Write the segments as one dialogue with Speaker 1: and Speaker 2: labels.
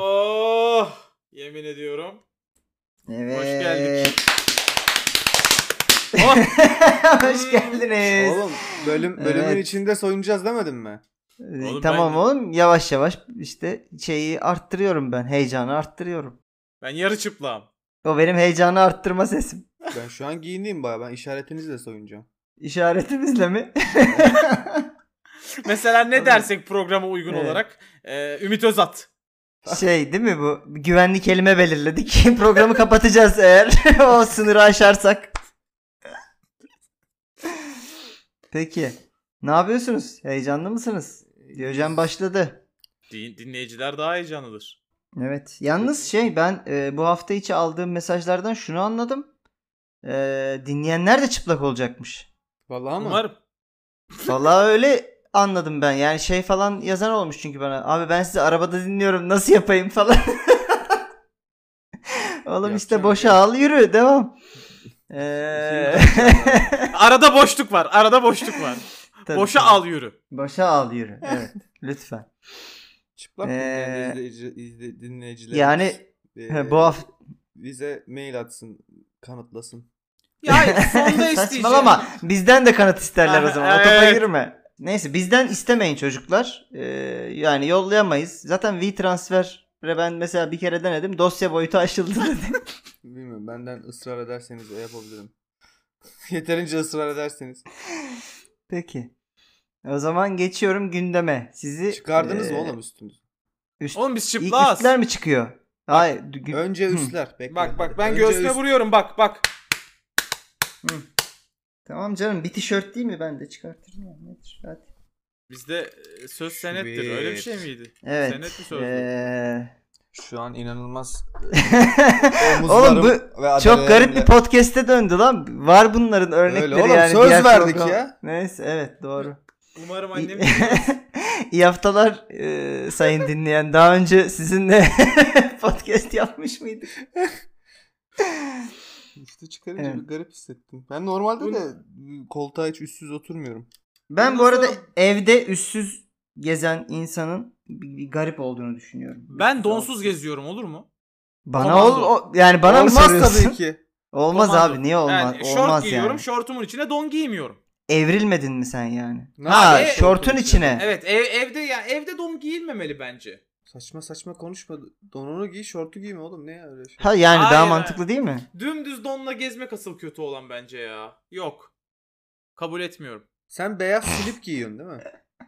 Speaker 1: Oh! Yemin ediyorum.
Speaker 2: Evet.
Speaker 1: geldik. Oh!
Speaker 2: Hoş
Speaker 1: Hmm.
Speaker 2: geldiniz.
Speaker 3: Oğlum bölüm bölümün
Speaker 2: Evet.
Speaker 3: içinde soyunacağız demedim mi?
Speaker 2: Ee,
Speaker 1: Oğlum
Speaker 2: tamam
Speaker 1: ben-
Speaker 2: oğlum yavaş yavaş işte şeyi arttırıyorum ben. Heyecanı arttırıyorum.
Speaker 1: Ben yarı çıplağım.
Speaker 2: O benim heyecanı arttırma sesim.
Speaker 3: Ben şu an giyineyim baya. Ben işaretinizle soyunacağım.
Speaker 2: İşaretimizle mi?
Speaker 1: Mesela ne dersek programa uygun
Speaker 2: Evet.
Speaker 1: olarak. e, Ümit Özat.
Speaker 2: şey değil mi bu? Güvenli kelime belirledik. Programı kapatacağız eğer o sınırı aşarsak. Peki. Ne yapıyorsunuz? Heyecanlı mısınız? Diyojen başladı.
Speaker 1: Din- dinleyiciler daha heyecanlıdır.
Speaker 2: Evet. Yalnız şey ben e, bu hafta içi aldığım mesajlardan şunu anladım. E, dinleyenler de çıplak olacakmış.
Speaker 3: Vallahi ama.
Speaker 1: Umarım.
Speaker 2: Vallahi öyle anladım ben. Yani şey falan yazan olmuş çünkü bana. Abi ben sizi arabada dinliyorum. Nasıl yapayım falan. Oğlum işte
Speaker 3: Yapacağım
Speaker 2: boşa
Speaker 3: ya.
Speaker 2: al yürü devam.
Speaker 3: Ee.
Speaker 2: E,
Speaker 1: Arada boşluk var. Arada boşluk var.
Speaker 2: tabii,
Speaker 1: Boşa
Speaker 2: tabii.
Speaker 1: al yürü.
Speaker 2: Boşa al yürü. Evet. Lütfen.
Speaker 3: Çıplak
Speaker 2: Ee,
Speaker 3: dinleyen izleyici- izle- dinleyicilerimiz,
Speaker 2: Yani
Speaker 3: ee,
Speaker 2: bu hafta
Speaker 3: bize mail atsın, kanıtlasın.
Speaker 1: Ya sonda isteyeceğim.
Speaker 2: Saçmalama. Bizden de kanıt isterler o zaman. O topa
Speaker 1: Evet.
Speaker 2: girme. Neyse bizden istemeyin çocuklar. Ee, yani yollayamayız. Zaten WeTransfer'e ben mesela bir kere denedim. Dosya boyutu aşıldı dedi.
Speaker 3: Bilmiyorum benden ısrar ederseniz o yapabilirim. Yeterince ısrar ederseniz.
Speaker 2: Peki. O zaman geçiyorum gündeme. Sizi
Speaker 3: Çıkardınız
Speaker 2: ee,
Speaker 3: mı oğlum üstünüzü?
Speaker 2: Üst,
Speaker 1: Oğlum biz
Speaker 2: ilk
Speaker 1: çıplağız.
Speaker 2: üstler mi çıkıyor? Hayır. gü-
Speaker 3: Önce
Speaker 2: Hı.
Speaker 3: üstler. Bekle.
Speaker 1: Bak bak ben
Speaker 3: Önce
Speaker 1: göğsüne
Speaker 3: üst-
Speaker 1: vuruyorum bak bak.
Speaker 2: Tamam canım bir tişört değil mi? Ben de çıkartırım. ya. Nedir? Hadi.
Speaker 1: Bizde e, söz senettir öyle bir şey
Speaker 3: Sweet.
Speaker 1: miydi?
Speaker 2: Evet.
Speaker 1: Senet mi sözlü?
Speaker 2: ee,
Speaker 3: Şu an inanılmaz
Speaker 2: Oğlum
Speaker 3: omuzlarım
Speaker 2: bu
Speaker 3: ve
Speaker 2: Çok garip
Speaker 3: adalelerimle-
Speaker 2: bir podcast'te döndü lan. Var bunların örnekleri
Speaker 3: Öyle oğlum,
Speaker 2: yani.
Speaker 3: söz
Speaker 2: diğer
Speaker 3: verdik
Speaker 2: program-
Speaker 3: ya.
Speaker 2: Neyse evet doğru.
Speaker 1: Umarım annem...
Speaker 2: İyi, İyi haftalar e, sayın dinleyen. Daha önce sizinle podcast yapmış mıydık?
Speaker 3: Üstü çıkarınca
Speaker 2: Evet.
Speaker 3: bir garip hissettim. Ben normalde
Speaker 1: Bu-
Speaker 3: de e, koltuğa hiç üstsüz oturmuyorum.
Speaker 2: Ben bu
Speaker 1: Ondan
Speaker 2: arada
Speaker 1: sonra-
Speaker 2: evde üstsüz gezen insanın bir, bir garip olduğunu düşünüyorum.
Speaker 1: Ben donsuz geziyorum olur mu?
Speaker 2: Bana ol,
Speaker 1: Komando.
Speaker 2: o- yani bana
Speaker 3: Olmaz
Speaker 2: mı soruyorsun?
Speaker 3: tabii ki.
Speaker 2: Olmaz
Speaker 1: Komando.
Speaker 2: abi niye olmaz?
Speaker 1: Yani şort
Speaker 2: olmaz
Speaker 1: giyiyorum,
Speaker 2: yani.
Speaker 1: şortumun içine don giymiyorum.
Speaker 2: Evrilmedin mi sen yani?
Speaker 3: Ne
Speaker 2: ha
Speaker 1: yapayım?
Speaker 2: şortun içine.
Speaker 1: Evet, ev, evde ya evde don giyilmemeli bence.
Speaker 3: Saçma saçma konuşma. Donunu giy, şortu giyme oğlum. Ne ya öyle şey?
Speaker 2: Ha yani daha
Speaker 1: Hayır.
Speaker 2: mantıklı değil mi?
Speaker 1: Dümdüz donla gezmek asıl kötü olan bence ya. Yok. Kabul etmiyorum.
Speaker 3: Sen beyaz slip giyiyorsun değil mi?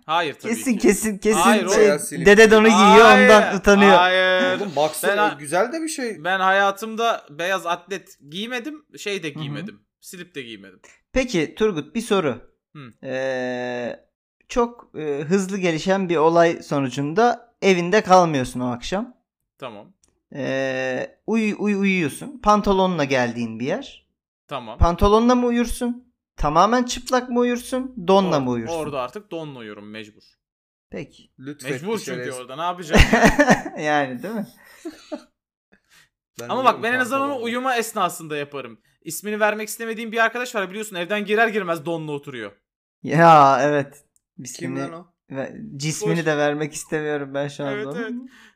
Speaker 1: Hayır tabii
Speaker 2: Kesin
Speaker 1: ki.
Speaker 2: kesin kesin
Speaker 1: Hayır, o
Speaker 2: şey,
Speaker 3: ya silip.
Speaker 2: dede donu giyiyor
Speaker 1: Hayır,
Speaker 2: ondan utanıyor.
Speaker 1: Hayır.
Speaker 3: Oğlum baksana
Speaker 1: Ben-
Speaker 3: güzel de bir şey.
Speaker 1: Ben hayatımda beyaz atlet giymedim, şey de giymedim. Slip de giymedim.
Speaker 2: Peki Turgut bir soru.
Speaker 1: Hı.
Speaker 2: Ee, çok e, hızlı gelişen bir olay sonucunda evinde kalmıyorsun o akşam.
Speaker 1: Tamam.
Speaker 2: Ee, uy, uy- uyuyorsun. Pantolonla geldiğin bir yer.
Speaker 1: Tamam.
Speaker 2: Pantolonla mı uyursun? Tamamen çıplak mı uyursun? Donla mı
Speaker 1: Or-
Speaker 2: uyursun?
Speaker 1: Orada artık donla uyuyorum mecbur.
Speaker 2: Peki.
Speaker 3: Lütfen.
Speaker 1: Mecbur
Speaker 3: bir
Speaker 1: çünkü
Speaker 3: şeyler-
Speaker 1: orada ne yapacağım?
Speaker 2: yani değil mi?
Speaker 3: Ben
Speaker 1: Ama
Speaker 3: uyuyorum
Speaker 1: bak ben en azından onu
Speaker 3: pantolonla.
Speaker 1: uyuma esnasında yaparım. İsmini vermek istemediğim bir arkadaş var biliyorsun evden girer girmez donla oturuyor.
Speaker 2: Ya evet.
Speaker 3: Kim
Speaker 2: İsmini,
Speaker 3: lan o?
Speaker 2: ve, cismini
Speaker 1: Boş.
Speaker 2: de vermek istemiyorum ben şu anda.
Speaker 1: Evet, evet.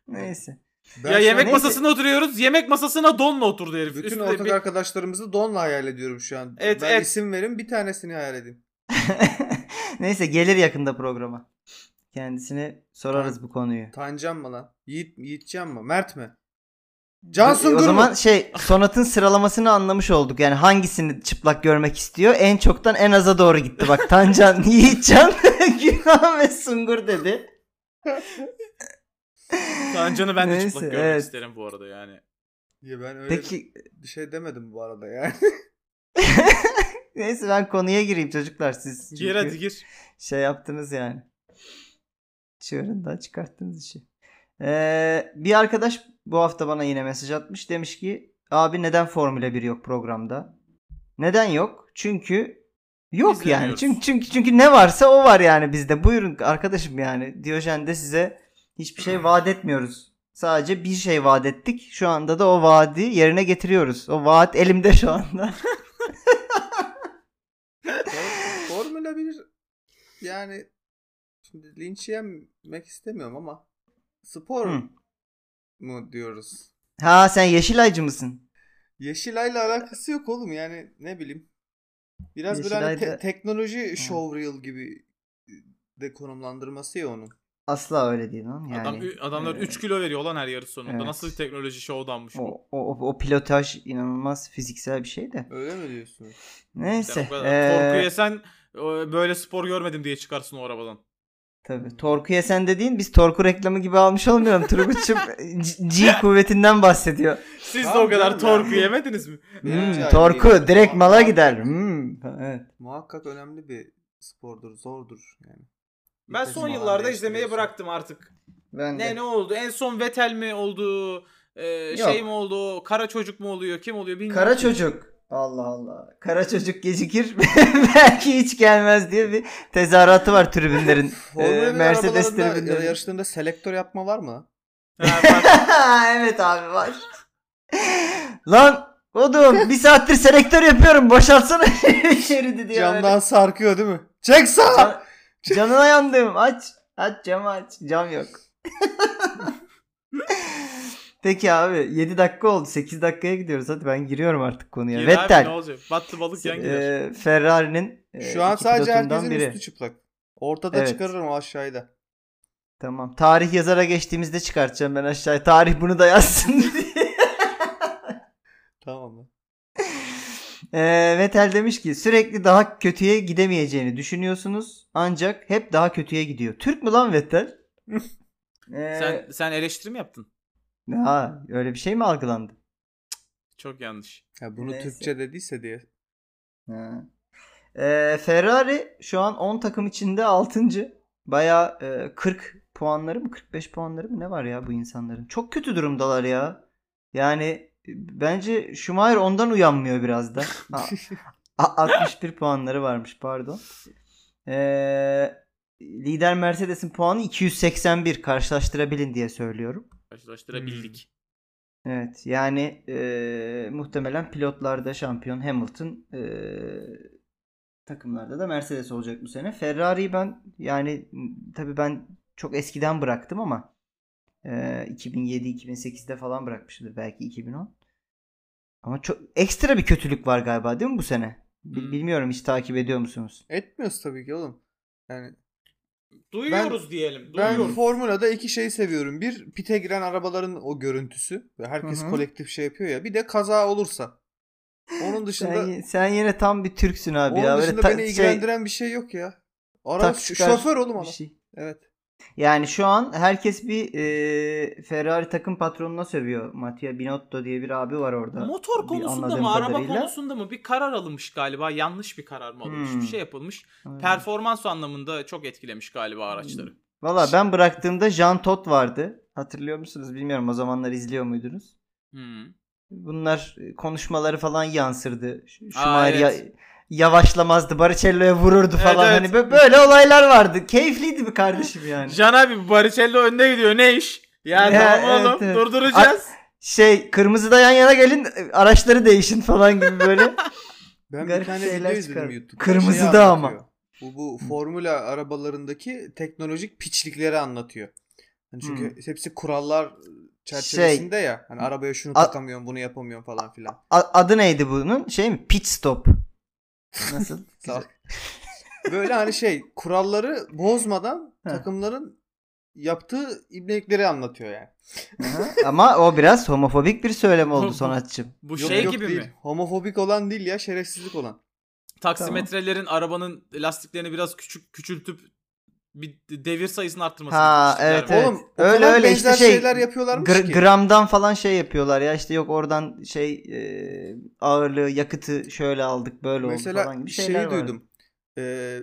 Speaker 2: Neyse.
Speaker 3: Ben
Speaker 1: ya
Speaker 3: şu
Speaker 1: yemek
Speaker 3: an-
Speaker 2: neyse.
Speaker 1: masasında oturuyoruz. Yemek masasına donla oturdu herif.
Speaker 3: Bütün
Speaker 1: Üstüne
Speaker 3: ortak
Speaker 1: bir-
Speaker 3: arkadaşlarımızı donla hayal ediyorum şu an.
Speaker 1: Evet,
Speaker 3: ben
Speaker 1: evet.
Speaker 3: isim verin bir tanesini hayal edeyim.
Speaker 2: Neyse gelir yakında programa. Kendisine sorarız bu konuyu.
Speaker 3: Tancan mı lan? Yiğit, Yiğitcan mı? Mert mi? Cansun
Speaker 2: o
Speaker 3: Gurur.
Speaker 2: zaman şey sonatın sıralamasını anlamış olduk. Yani hangisini çıplak görmek istiyor? En çoktan en aza doğru gitti. Bak Tancan, Yiğitcan, Günhan ve Sungur dedi.
Speaker 1: Tancan'ı ben de
Speaker 2: Neyse,
Speaker 1: çıplak görmek
Speaker 2: evet.
Speaker 1: isterim bu arada yani.
Speaker 3: Ya ben öyle
Speaker 2: Peki
Speaker 3: bir şey demedim bu arada yani.
Speaker 2: neyse ben konuya gireyim çocuklar siz.
Speaker 1: Gir
Speaker 2: çünkü
Speaker 1: hadi gir.
Speaker 2: Şey yaptınız yani. Çığırından çıkarttınız işi. Ee, bir arkadaş bu hafta bana yine mesaj atmış. Demiş ki abi neden Formula 1 yok programda? Neden yok? Çünkü yok yani.
Speaker 1: İzlemiyoruz.
Speaker 2: Çünkü, çünkü çünkü ne varsa o var yani bizde. Buyurun arkadaşım yani. Diyojen de size hiçbir şey vaat etmiyoruz. Sadece bir şey vaat ettik. Şu anda da o vaadi yerine getiriyoruz. O vaat elimde şu anda.
Speaker 3: For- Formula 1 yani şimdi linç yemek istemiyorum ama spor
Speaker 2: Hı.
Speaker 3: mu diyoruz?
Speaker 2: Ha sen Yeşilaycı mısın?
Speaker 3: Yeşilay'la alakası yok oğlum yani ne bileyim. Biraz böyle hani
Speaker 2: Yeşilay'da-
Speaker 3: te- teknoloji showreel gibi de konumlandırması ya onun.
Speaker 2: Asla öyle değil lan. Yani,
Speaker 1: Adam, ü- adamlar
Speaker 2: e,
Speaker 1: 3 kilo veriyor lan her yarış sonunda.
Speaker 2: evet.
Speaker 1: Nasıl bir teknoloji şovdanmış bu?
Speaker 2: O, o, o, o pilotaj inanılmaz fiziksel bir şey de.
Speaker 3: Öyle mi diyorsunuz?
Speaker 1: Sen
Speaker 2: Neyse.
Speaker 1: o kadar
Speaker 2: ee,
Speaker 1: korku yesen e, böyle spor görmedim diye çıkarsın o arabadan.
Speaker 2: Tabii. Torku yesen dediğin biz torku reklamı gibi almış olmayalım. Turgut'cum G- G kuvvetinden bahsediyor.
Speaker 1: Siz de
Speaker 3: Tamam
Speaker 1: o kadar
Speaker 3: canım ya.
Speaker 1: torku yemediniz mi?
Speaker 2: Hmm,
Speaker 3: Rica
Speaker 2: torku
Speaker 3: ederim.
Speaker 2: direkt mala gider. Hmm, evet.
Speaker 3: Muhakkak önemli bir spordur, zordur yani.
Speaker 1: Ben
Speaker 3: Vitesi
Speaker 1: son
Speaker 3: falan
Speaker 1: yıllarda izlemeyi
Speaker 3: değiştiriyorsun.
Speaker 1: bıraktım artık.
Speaker 2: Ben
Speaker 1: Ne
Speaker 2: de.
Speaker 1: ne oldu? En son Vettel mi oldu? Ee,
Speaker 2: Yok.
Speaker 1: şey mi oldu? Kara çocuk mu oluyor? Kim oluyor bilmiyorum.
Speaker 2: Kara çocuk. Allah Allah. Kara çocuk gecikir belki hiç gelmez diye bir tezahüratı var tribünlerin.
Speaker 3: Formula
Speaker 2: Ee,
Speaker 3: 1
Speaker 2: Mercedes
Speaker 3: arabalarında,
Speaker 2: tribünleri.
Speaker 3: yarışlarında selektör yapma var mı?
Speaker 1: Ha, bak,
Speaker 2: evet abi var. Lan oğlum bir saattir selektör yapıyorum boşaltsana şeridi diye. böyle.
Speaker 3: Camdan sarkıyor değil mi? Çek sağa!
Speaker 2: Can- canına yandım. Aç. Aç camı aç. Cam yok. Peki abi 7 dakika oldu. 8 dakikaya gidiyoruz. Hadi ben giriyorum artık konuya.
Speaker 1: gir abi, ne
Speaker 2: Vettel.
Speaker 1: olacak? Battı balık yan gider.
Speaker 2: e, Ferrari'nin e,
Speaker 3: Şu an
Speaker 2: iki
Speaker 3: sadece
Speaker 2: pilotundan
Speaker 3: herkesin
Speaker 2: biri.
Speaker 3: üstü çıplak. Ortada
Speaker 2: Evet.
Speaker 3: çıkarırım aşağıda.
Speaker 2: Tamam. Tarih yazara geçtiğimizde çıkartacağım ben aşağıya. Tarih bunu da yazsın diye.
Speaker 3: Tamam mı?
Speaker 2: E, Vettel demiş ki sürekli daha kötüye gidemeyeceğini düşünüyorsunuz. Ancak hep daha kötüye gidiyor. Türk mü lan Vettel? E,
Speaker 1: Sen, sen eleştiri mi yaptın?
Speaker 2: Ha, öyle bir şey mi algılandı?
Speaker 1: Çok yanlış.
Speaker 3: Ya bunu
Speaker 2: Neyse.
Speaker 3: Türkçe dediyse diye.
Speaker 2: Ha. Ee, Ferrari şu an 10 takım içinde 6. Baya 40 puanları mı 45 puanları mı ne var ya bu insanların? Çok kötü durumdalar ya. Yani e, bence Schumacher ondan uyanmıyor biraz da. Ha, a- 61 puanları varmış pardon. Ee, lider Mercedes'in puanı 281 karşılaştırabilin diye söylüyorum.
Speaker 1: Karşılaştırabildik.
Speaker 2: Evet yani eee, muhtemelen pilotlarda şampiyon Hamilton eee, takımlarda da Mercedes olacak bu sene. Ferrari'yi ben yani m, tabii ben çok eskiden bıraktım ama eee, 2007-2008'de falan bırakmışımdır belki 2010. Ama çok ekstra bir kötülük var galiba değil mi bu sene? Bil-
Speaker 1: Hmm.
Speaker 2: Bilmiyorum hiç takip ediyor musunuz?
Speaker 3: Etmiyoruz tabii ki oğlum. Yani
Speaker 2: Hmm.
Speaker 1: Duyuyoruz diyelim.
Speaker 3: ben
Speaker 1: Duyuyoruz.
Speaker 3: Formula'da iki şey seviyorum. Bir pite giren arabaların o görüntüsü. Ve herkes
Speaker 2: Hı hı.
Speaker 3: kolektif şey yapıyor ya. Bir de kaza olursa. Onun dışında
Speaker 2: Sen, ye- sen yine tam bir Türksün abi
Speaker 3: onun
Speaker 2: Şey, ya. Böyle
Speaker 3: dışında
Speaker 2: ta-
Speaker 3: beni
Speaker 2: şey-
Speaker 3: ilgilendiren bir şey yok ya. Araba
Speaker 2: tak
Speaker 3: ş-
Speaker 2: çıkar
Speaker 3: şoför oğlum
Speaker 2: bir
Speaker 3: adam.
Speaker 2: şey.
Speaker 3: Evet.
Speaker 2: Yani şu an herkes bir e, Ferrari takım patronuna sövüyor. Mattia Binotto diye bir abi var orada.
Speaker 1: Motor
Speaker 2: Bir
Speaker 1: konusunda
Speaker 2: anladığım
Speaker 1: mı, araba
Speaker 2: kadarıyla.
Speaker 1: konusunda mı bir karar alınmış galiba. Yanlış bir karar mı alınmış?
Speaker 2: Hmm. Hmm.
Speaker 1: Bir şey yapılmış.
Speaker 2: Evet.
Speaker 1: Performans anlamında çok etkilemiş galiba araçları.
Speaker 2: Valla ben bıraktığımda Jean Todt vardı. Hatırlıyor musunuz bilmiyorum o zamanlar izliyor muydunuz?
Speaker 1: Hmm.
Speaker 2: Bunlar e, konuşmaları falan yansırdı. Ş-
Speaker 1: Aa,
Speaker 2: Schumacher ya-
Speaker 1: evet.
Speaker 2: yavaşlamazdı. Baricello'ya vururdu
Speaker 1: Evet,
Speaker 2: falan.
Speaker 1: evet.
Speaker 2: Hani bö- böyle olaylar vardı. Keyifliydi bir kardeşim yani.
Speaker 1: Can abi Baricello önde gidiyor. Ne iş? Ya
Speaker 2: Ya,
Speaker 1: tamam
Speaker 2: evet,
Speaker 1: oğlum
Speaker 2: evet.
Speaker 1: durduracağız.
Speaker 2: Şey kırmızıda yan yana gelin e, araçları değişin falan gibi böyle.
Speaker 3: Ben
Speaker 2: Garip
Speaker 3: bir tane
Speaker 2: şeyler
Speaker 3: video
Speaker 2: çıkar.
Speaker 3: izledim YouTube'da.
Speaker 2: Kırmızı
Speaker 3: Şeyi
Speaker 2: da ama.
Speaker 3: anlatıyor. Bu, bu formula arabalarındaki teknolojik piçlikleri anlatıyor. Hani çünkü hepsi kurallar çerçevesinde ya. Hani arabaya şunu
Speaker 2: Hmm. Şey, A-
Speaker 3: takamıyorsun, bunu yapamıyorsun falan filan.
Speaker 2: A- adı neydi bunun? Şey mi? Pit stop. Nasıl?
Speaker 3: Sağ- Böyle hani şey kuralları bozmadan
Speaker 2: Heh.
Speaker 3: takımların yaptığı ibnelikleri anlatıyor yani.
Speaker 2: Aha, Ama o biraz homofobik bir söylem oldu Sonatçım.
Speaker 1: Bu
Speaker 3: Yok,
Speaker 1: şey
Speaker 3: yok
Speaker 1: gibi
Speaker 3: değil.
Speaker 1: mi?
Speaker 3: Homofobik olan değil ya şerefsizlik olan.
Speaker 1: Taksimetrelerin arabanın lastiklerini biraz küçük küçültüp bir devir sayısını arttırması.
Speaker 2: Ha,
Speaker 1: istemişler
Speaker 2: evet,
Speaker 1: mi?
Speaker 2: evet.
Speaker 3: Oğlum o
Speaker 2: Öyle,
Speaker 3: kadar
Speaker 2: öyle işte
Speaker 3: benzer
Speaker 2: şey,
Speaker 3: şeyler yapıyorlarmış
Speaker 2: Gr-
Speaker 3: ki.
Speaker 2: gramdan falan şey yapıyorlar ya işte yok oradan şey e, ağırlığı yakıtı şöyle aldık böyle oldu
Speaker 3: Mesela
Speaker 2: falan gibi şeyler
Speaker 3: şeyi
Speaker 2: vardı.
Speaker 3: duydum. Ee,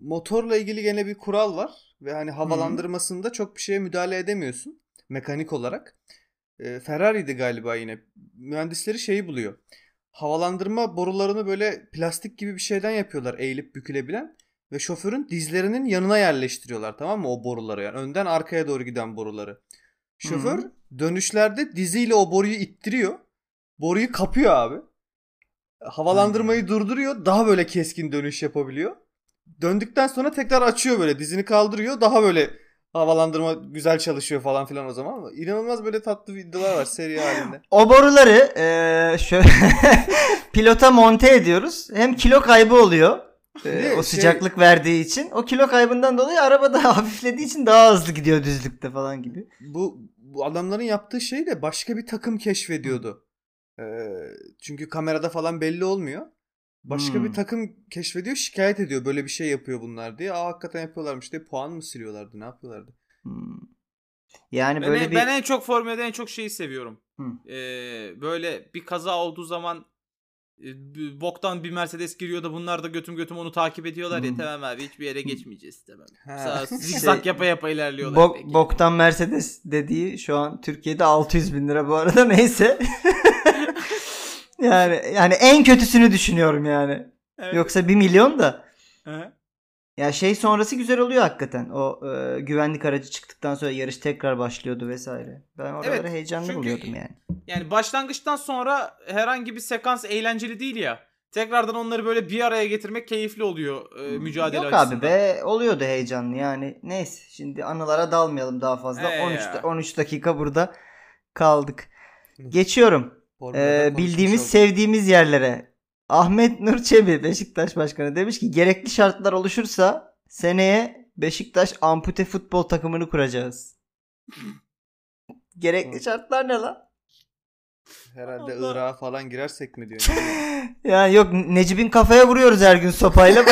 Speaker 3: motorla ilgili gene bir kural var ve hani havalandırmasında çok bir şeye müdahale edemiyorsun mekanik olarak. Ee, Ferrari'di galiba yine. Mühendisleri şeyi buluyor. Havalandırma borularını böyle plastik gibi bir şeyden yapıyorlar eğilip bükülebilen ve şoförün dizlerinin yanına yerleştiriyorlar tamam mı o boruları yani önden arkaya doğru giden boruları. Şoför dönüşlerde diziyle o boruyu ittiriyor. Boruyu kapıyor abi. Havalandırmayı durduruyor. Daha böyle keskin dönüş yapabiliyor. Döndükten sonra tekrar açıyor böyle dizini kaldırıyor. Daha böyle havalandırma güzel çalışıyor falan filan o zaman ama inanılmaz böyle tatlı videolar var seri halinde.
Speaker 2: O boruları eee, şöyle pilota monte ediyoruz. Hem kilo kaybı oluyor. eee,
Speaker 3: de
Speaker 2: Ee, o
Speaker 3: şey-
Speaker 2: sıcaklık verdiği için. O kilo kaybından dolayı araba da hafiflediği için daha hızlı gidiyor düzlükte falan gibi.
Speaker 3: Bu, bu adamların yaptığı şey de başka bir takım keşfediyordu. Ee, çünkü kamerada falan belli olmuyor. Başka
Speaker 2: Hmm.
Speaker 3: bir takım keşfediyor şikayet ediyor böyle bir şey yapıyor bunlar diye. Aa hakikaten yapıyorlarmış diye puan mı siliyorlardı ne yapıyorlardı?
Speaker 2: Hmm. Yani
Speaker 1: Ben,
Speaker 2: Hani böyle
Speaker 1: en,
Speaker 2: bir
Speaker 1: ben en çok Formula'da en çok şeyi seviyorum.
Speaker 2: Hı.
Speaker 1: Ee, böyle bir kaza olduğu zaman e, b- boktan bir Mercedes giriyor da bunlar da götüm götüm onu takip ediyorlar ya
Speaker 2: Hı.
Speaker 1: tamam abi hiçbir yere geçmeyeceğiz tamam.
Speaker 3: Ha.
Speaker 1: Sağ- Zigzag
Speaker 2: Şey,
Speaker 1: yapa yapa ilerliyorlar.
Speaker 2: bok-
Speaker 1: peki.
Speaker 2: boktan Mercedes dediği şu an Türkiye'de 600 bin lira bu arada neyse. yani yani en kötüsünü düşünüyorum yani.
Speaker 1: Evet.
Speaker 2: Yoksa 1 milyon da.
Speaker 1: Hı.
Speaker 2: Ya şey sonrası güzel oluyor hakikaten. O e, güvenlik aracı çıktıktan sonra yarış tekrar başlıyordu vesaire. Ben oraları
Speaker 1: Evet,
Speaker 2: heyecanlı
Speaker 1: çünkü-
Speaker 2: buluyordum yani.
Speaker 1: Yani başlangıçtan sonra herhangi bir sekans eğlenceli değil ya. Tekrardan onları böyle bir araya getirmek keyifli oluyor e, mücadele
Speaker 2: Yok
Speaker 1: açısından.
Speaker 2: abi be oluyordu heyecanlı yani. Neyse şimdi anılara dalmayalım daha fazla.
Speaker 1: Ee
Speaker 2: 13
Speaker 1: ya.
Speaker 2: 13 dakika burada kaldık.
Speaker 3: Hı.
Speaker 2: Geçiyorum.
Speaker 3: Formula'da
Speaker 2: Ee,
Speaker 3: konuşmuş
Speaker 2: bildiğimiz
Speaker 3: olduk.
Speaker 2: sevdiğimiz yerlere. Ahmet Nur Çebi Beşiktaş Başkanı demiş ki gerekli şartlar oluşursa seneye Beşiktaş ampute futbol takımını kuracağız. gerekli
Speaker 3: Hı.
Speaker 2: şartlar ne lan?
Speaker 3: Herhalde
Speaker 1: Allah.
Speaker 3: Irak'a falan girersek mi diyor.
Speaker 2: Ya yok Necip'in kafaya vuruyoruz her gün sopayla.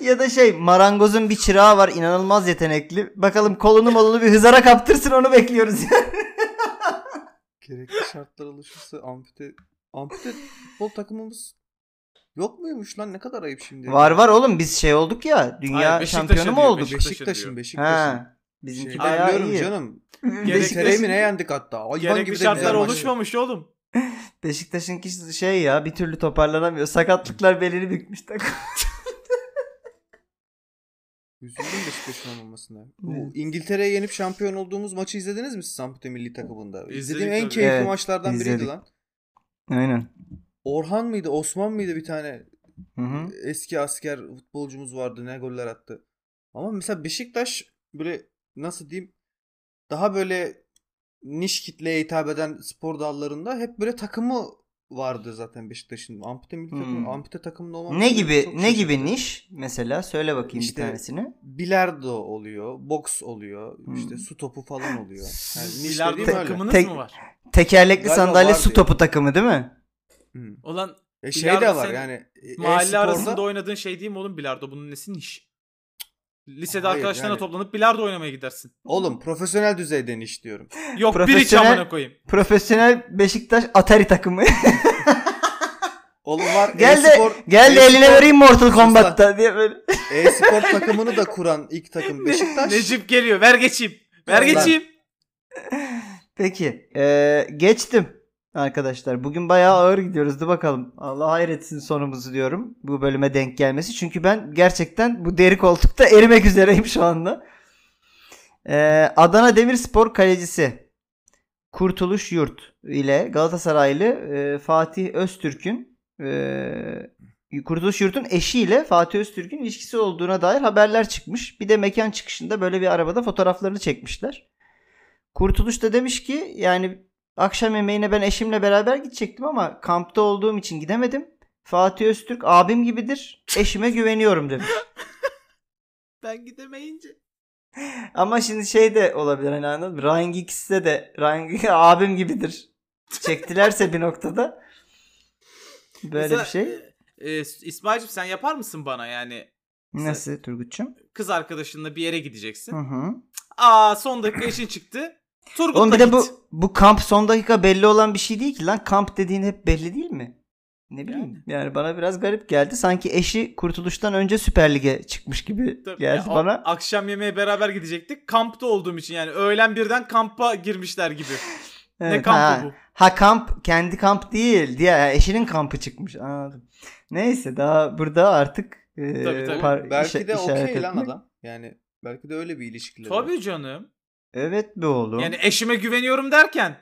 Speaker 2: ya da şey marangozun bir çırağı var inanılmaz yetenekli. Bakalım kolunu molunu bir hızara kaptırsın onu bekliyoruz.
Speaker 3: Gerekli şartlar oluşursa ampute ampute futbol takımımız yok muymuş lan ne kadar ayıp şimdi.
Speaker 2: var var oğlum biz şey olduk ya dünya
Speaker 1: Hayır, Beşiktaş'a
Speaker 2: şampiyonu mu
Speaker 1: diyor,
Speaker 2: olduk?
Speaker 1: Beşiktaş'ın diyor.
Speaker 3: Beşiktaş'ın Beşiktaş'ın.
Speaker 2: Ha, bizimki
Speaker 3: Şey,
Speaker 2: bayağı
Speaker 3: biliyorum
Speaker 2: iyi.
Speaker 3: canım.
Speaker 1: Gerekli-
Speaker 3: Beşiktaş'ı mi ne yendik hatta? Hayvan gibi
Speaker 1: Gerekli
Speaker 3: de
Speaker 1: şartlar
Speaker 3: güzel maç.
Speaker 1: oluşmamış oğlum.
Speaker 2: Beşiktaş'ınki şey ya bir türlü toparlanamıyor. Sakatlıklar belini bükmüş takım.
Speaker 3: Üzüldüm Beşiktaş'ın olmamasına. Bu
Speaker 2: Evet.
Speaker 3: İngiltere'ye yenip şampiyon olduğumuz maçı izlediniz mi siz Sampdoria milli takımında?
Speaker 1: İzledik
Speaker 3: İzlediğim en
Speaker 1: tabii.
Speaker 3: keyifli
Speaker 2: Evet,
Speaker 3: maçlardan biriydi
Speaker 2: izledik.
Speaker 3: lan.
Speaker 2: Aynen.
Speaker 3: Orhan mıydı, Osman mıydı bir tane
Speaker 2: Hı hı.
Speaker 3: eski asker futbolcumuz vardı ne goller attı. Ama mesela Beşiktaş böyle nasıl diyeyim daha böyle niş kitleye hitap eden spor dallarında hep böyle takımı vardı zaten Beşiktaş'ın. Ampute milli takımı,
Speaker 2: Hmm.
Speaker 3: ampute takımında olmaması
Speaker 2: Ne
Speaker 3: beni
Speaker 2: gibi
Speaker 3: çok
Speaker 2: ne
Speaker 3: şaşırttı.
Speaker 2: gibi niş mesela söyle bakayım
Speaker 3: İşte-
Speaker 2: bir tanesini.
Speaker 3: Bilardo oluyor, boks oluyor, işte
Speaker 2: Hmm.
Speaker 3: su topu falan oluyor. Yani niş
Speaker 1: Bilardo
Speaker 3: dediğim öyle.
Speaker 1: takımınız
Speaker 2: Tek-
Speaker 1: mı var?
Speaker 2: Tekerlekli
Speaker 3: Galiba
Speaker 2: sandalye
Speaker 3: var
Speaker 2: su
Speaker 3: diye.
Speaker 2: topu takımı değil mi?
Speaker 3: Hmm.
Speaker 1: Ulan
Speaker 3: E şey
Speaker 1: Bilardo
Speaker 3: de var
Speaker 1: senin
Speaker 3: yani. e-
Speaker 1: Mahalle
Speaker 3: e-sporda-
Speaker 1: arasında oynadığın şey değil mi oğlum bilardo? Bunun nesi niş? Lisede
Speaker 3: Hayır,
Speaker 1: arkadaşlarına
Speaker 3: yani-
Speaker 1: toplanıp bilardo oynamaya gidersin.
Speaker 3: Oğlum profesyonel düzeyden iş diyorum.
Speaker 1: Yok biri
Speaker 2: Profesyonel-
Speaker 1: çamana koyayım.
Speaker 2: Profesyonel Beşiktaş Atari takımı.
Speaker 3: Oğlum var
Speaker 2: Gel de-
Speaker 3: e-spor,
Speaker 2: Gel de
Speaker 3: e-spor-
Speaker 2: eline vereyim Mortal
Speaker 3: Sus lan.
Speaker 2: Kombat'ta diye böyle.
Speaker 3: E-spor takımını da kuran ilk takım Beşiktaş.
Speaker 1: Necip geliyor. Ver geçeyim. Ver
Speaker 3: Ulan.
Speaker 1: geçeyim.
Speaker 2: Peki eee, geçtim arkadaşlar. Bugün bayağı ağır gidiyoruz. Dur bakalım. Allah hayretsin sonumuzu diyorum. Bu bölüme denk gelmesi. Çünkü ben gerçekten bu deri koltukta erimek üzereyim şu anda. Eee, Adana Demirspor kalecisi Kurtuluş Yurt ile Galatasaraylı eee, Fatih Öztürk'ün eee, Kurtuluş Yurt'un eşiyle Fatih Öztürk'ün ilişkisi olduğuna dair haberler çıkmış. Bir de mekan çıkışında böyle bir arabada fotoğraflarını çekmişler. Kurtuluş da demiş ki yani akşam yemeğine ben eşimle beraber gidecektim ama kampta olduğum için gidemedim. Fatih Öztürk abim gibidir. Eşime güveniyorum demiş.
Speaker 1: Ben gidemeyince.
Speaker 2: Ama şimdi şey de olabilir hani anladın mı? Ryan Giggs'e de Ryan Giggs abim gibidir. Çektilerse bir noktada. Böyle
Speaker 1: Mesela,
Speaker 2: bir şey.
Speaker 1: E, İsmail'cim sen yapar mısın bana yani?
Speaker 2: Nasıl Turgut'cum?
Speaker 1: Kız arkadaşınla bir yere gideceksin.
Speaker 2: Hı hı.
Speaker 1: Aa son dakika işin çıktı. Turgut'la
Speaker 2: Oğlum bir de
Speaker 1: git.
Speaker 2: bu, bu kamp son dakika belli olan bir şey değil ki lan. Kamp dediğin hep belli değil mi? Ne bileyim. Yani, bana biraz garip geldi. Sanki eşi kurtuluştan önce Süper Lig'e çıkmış gibi
Speaker 1: Tabii,
Speaker 2: geldi
Speaker 1: ya, a-
Speaker 2: bana.
Speaker 1: Akşam yemeğe beraber gidecektik. Kampta olduğum için yani öğlen birden kampa girmişler gibi.
Speaker 2: Evet,
Speaker 1: ne kampı
Speaker 2: ha.
Speaker 1: bu?
Speaker 2: Ha kamp kendi kamp değil. Diğer eşinin kampı çıkmış. Anladım. Neyse daha burada artık e,
Speaker 1: Tabii, tabii.
Speaker 2: par- işe-
Speaker 3: belki de
Speaker 2: işaret
Speaker 3: okey lan
Speaker 2: etmek.
Speaker 3: adam. Yani belki de öyle bir ilişkileri var.
Speaker 1: Tabii canım.
Speaker 2: Evet be oğlum.
Speaker 1: Yani eşime güveniyorum derken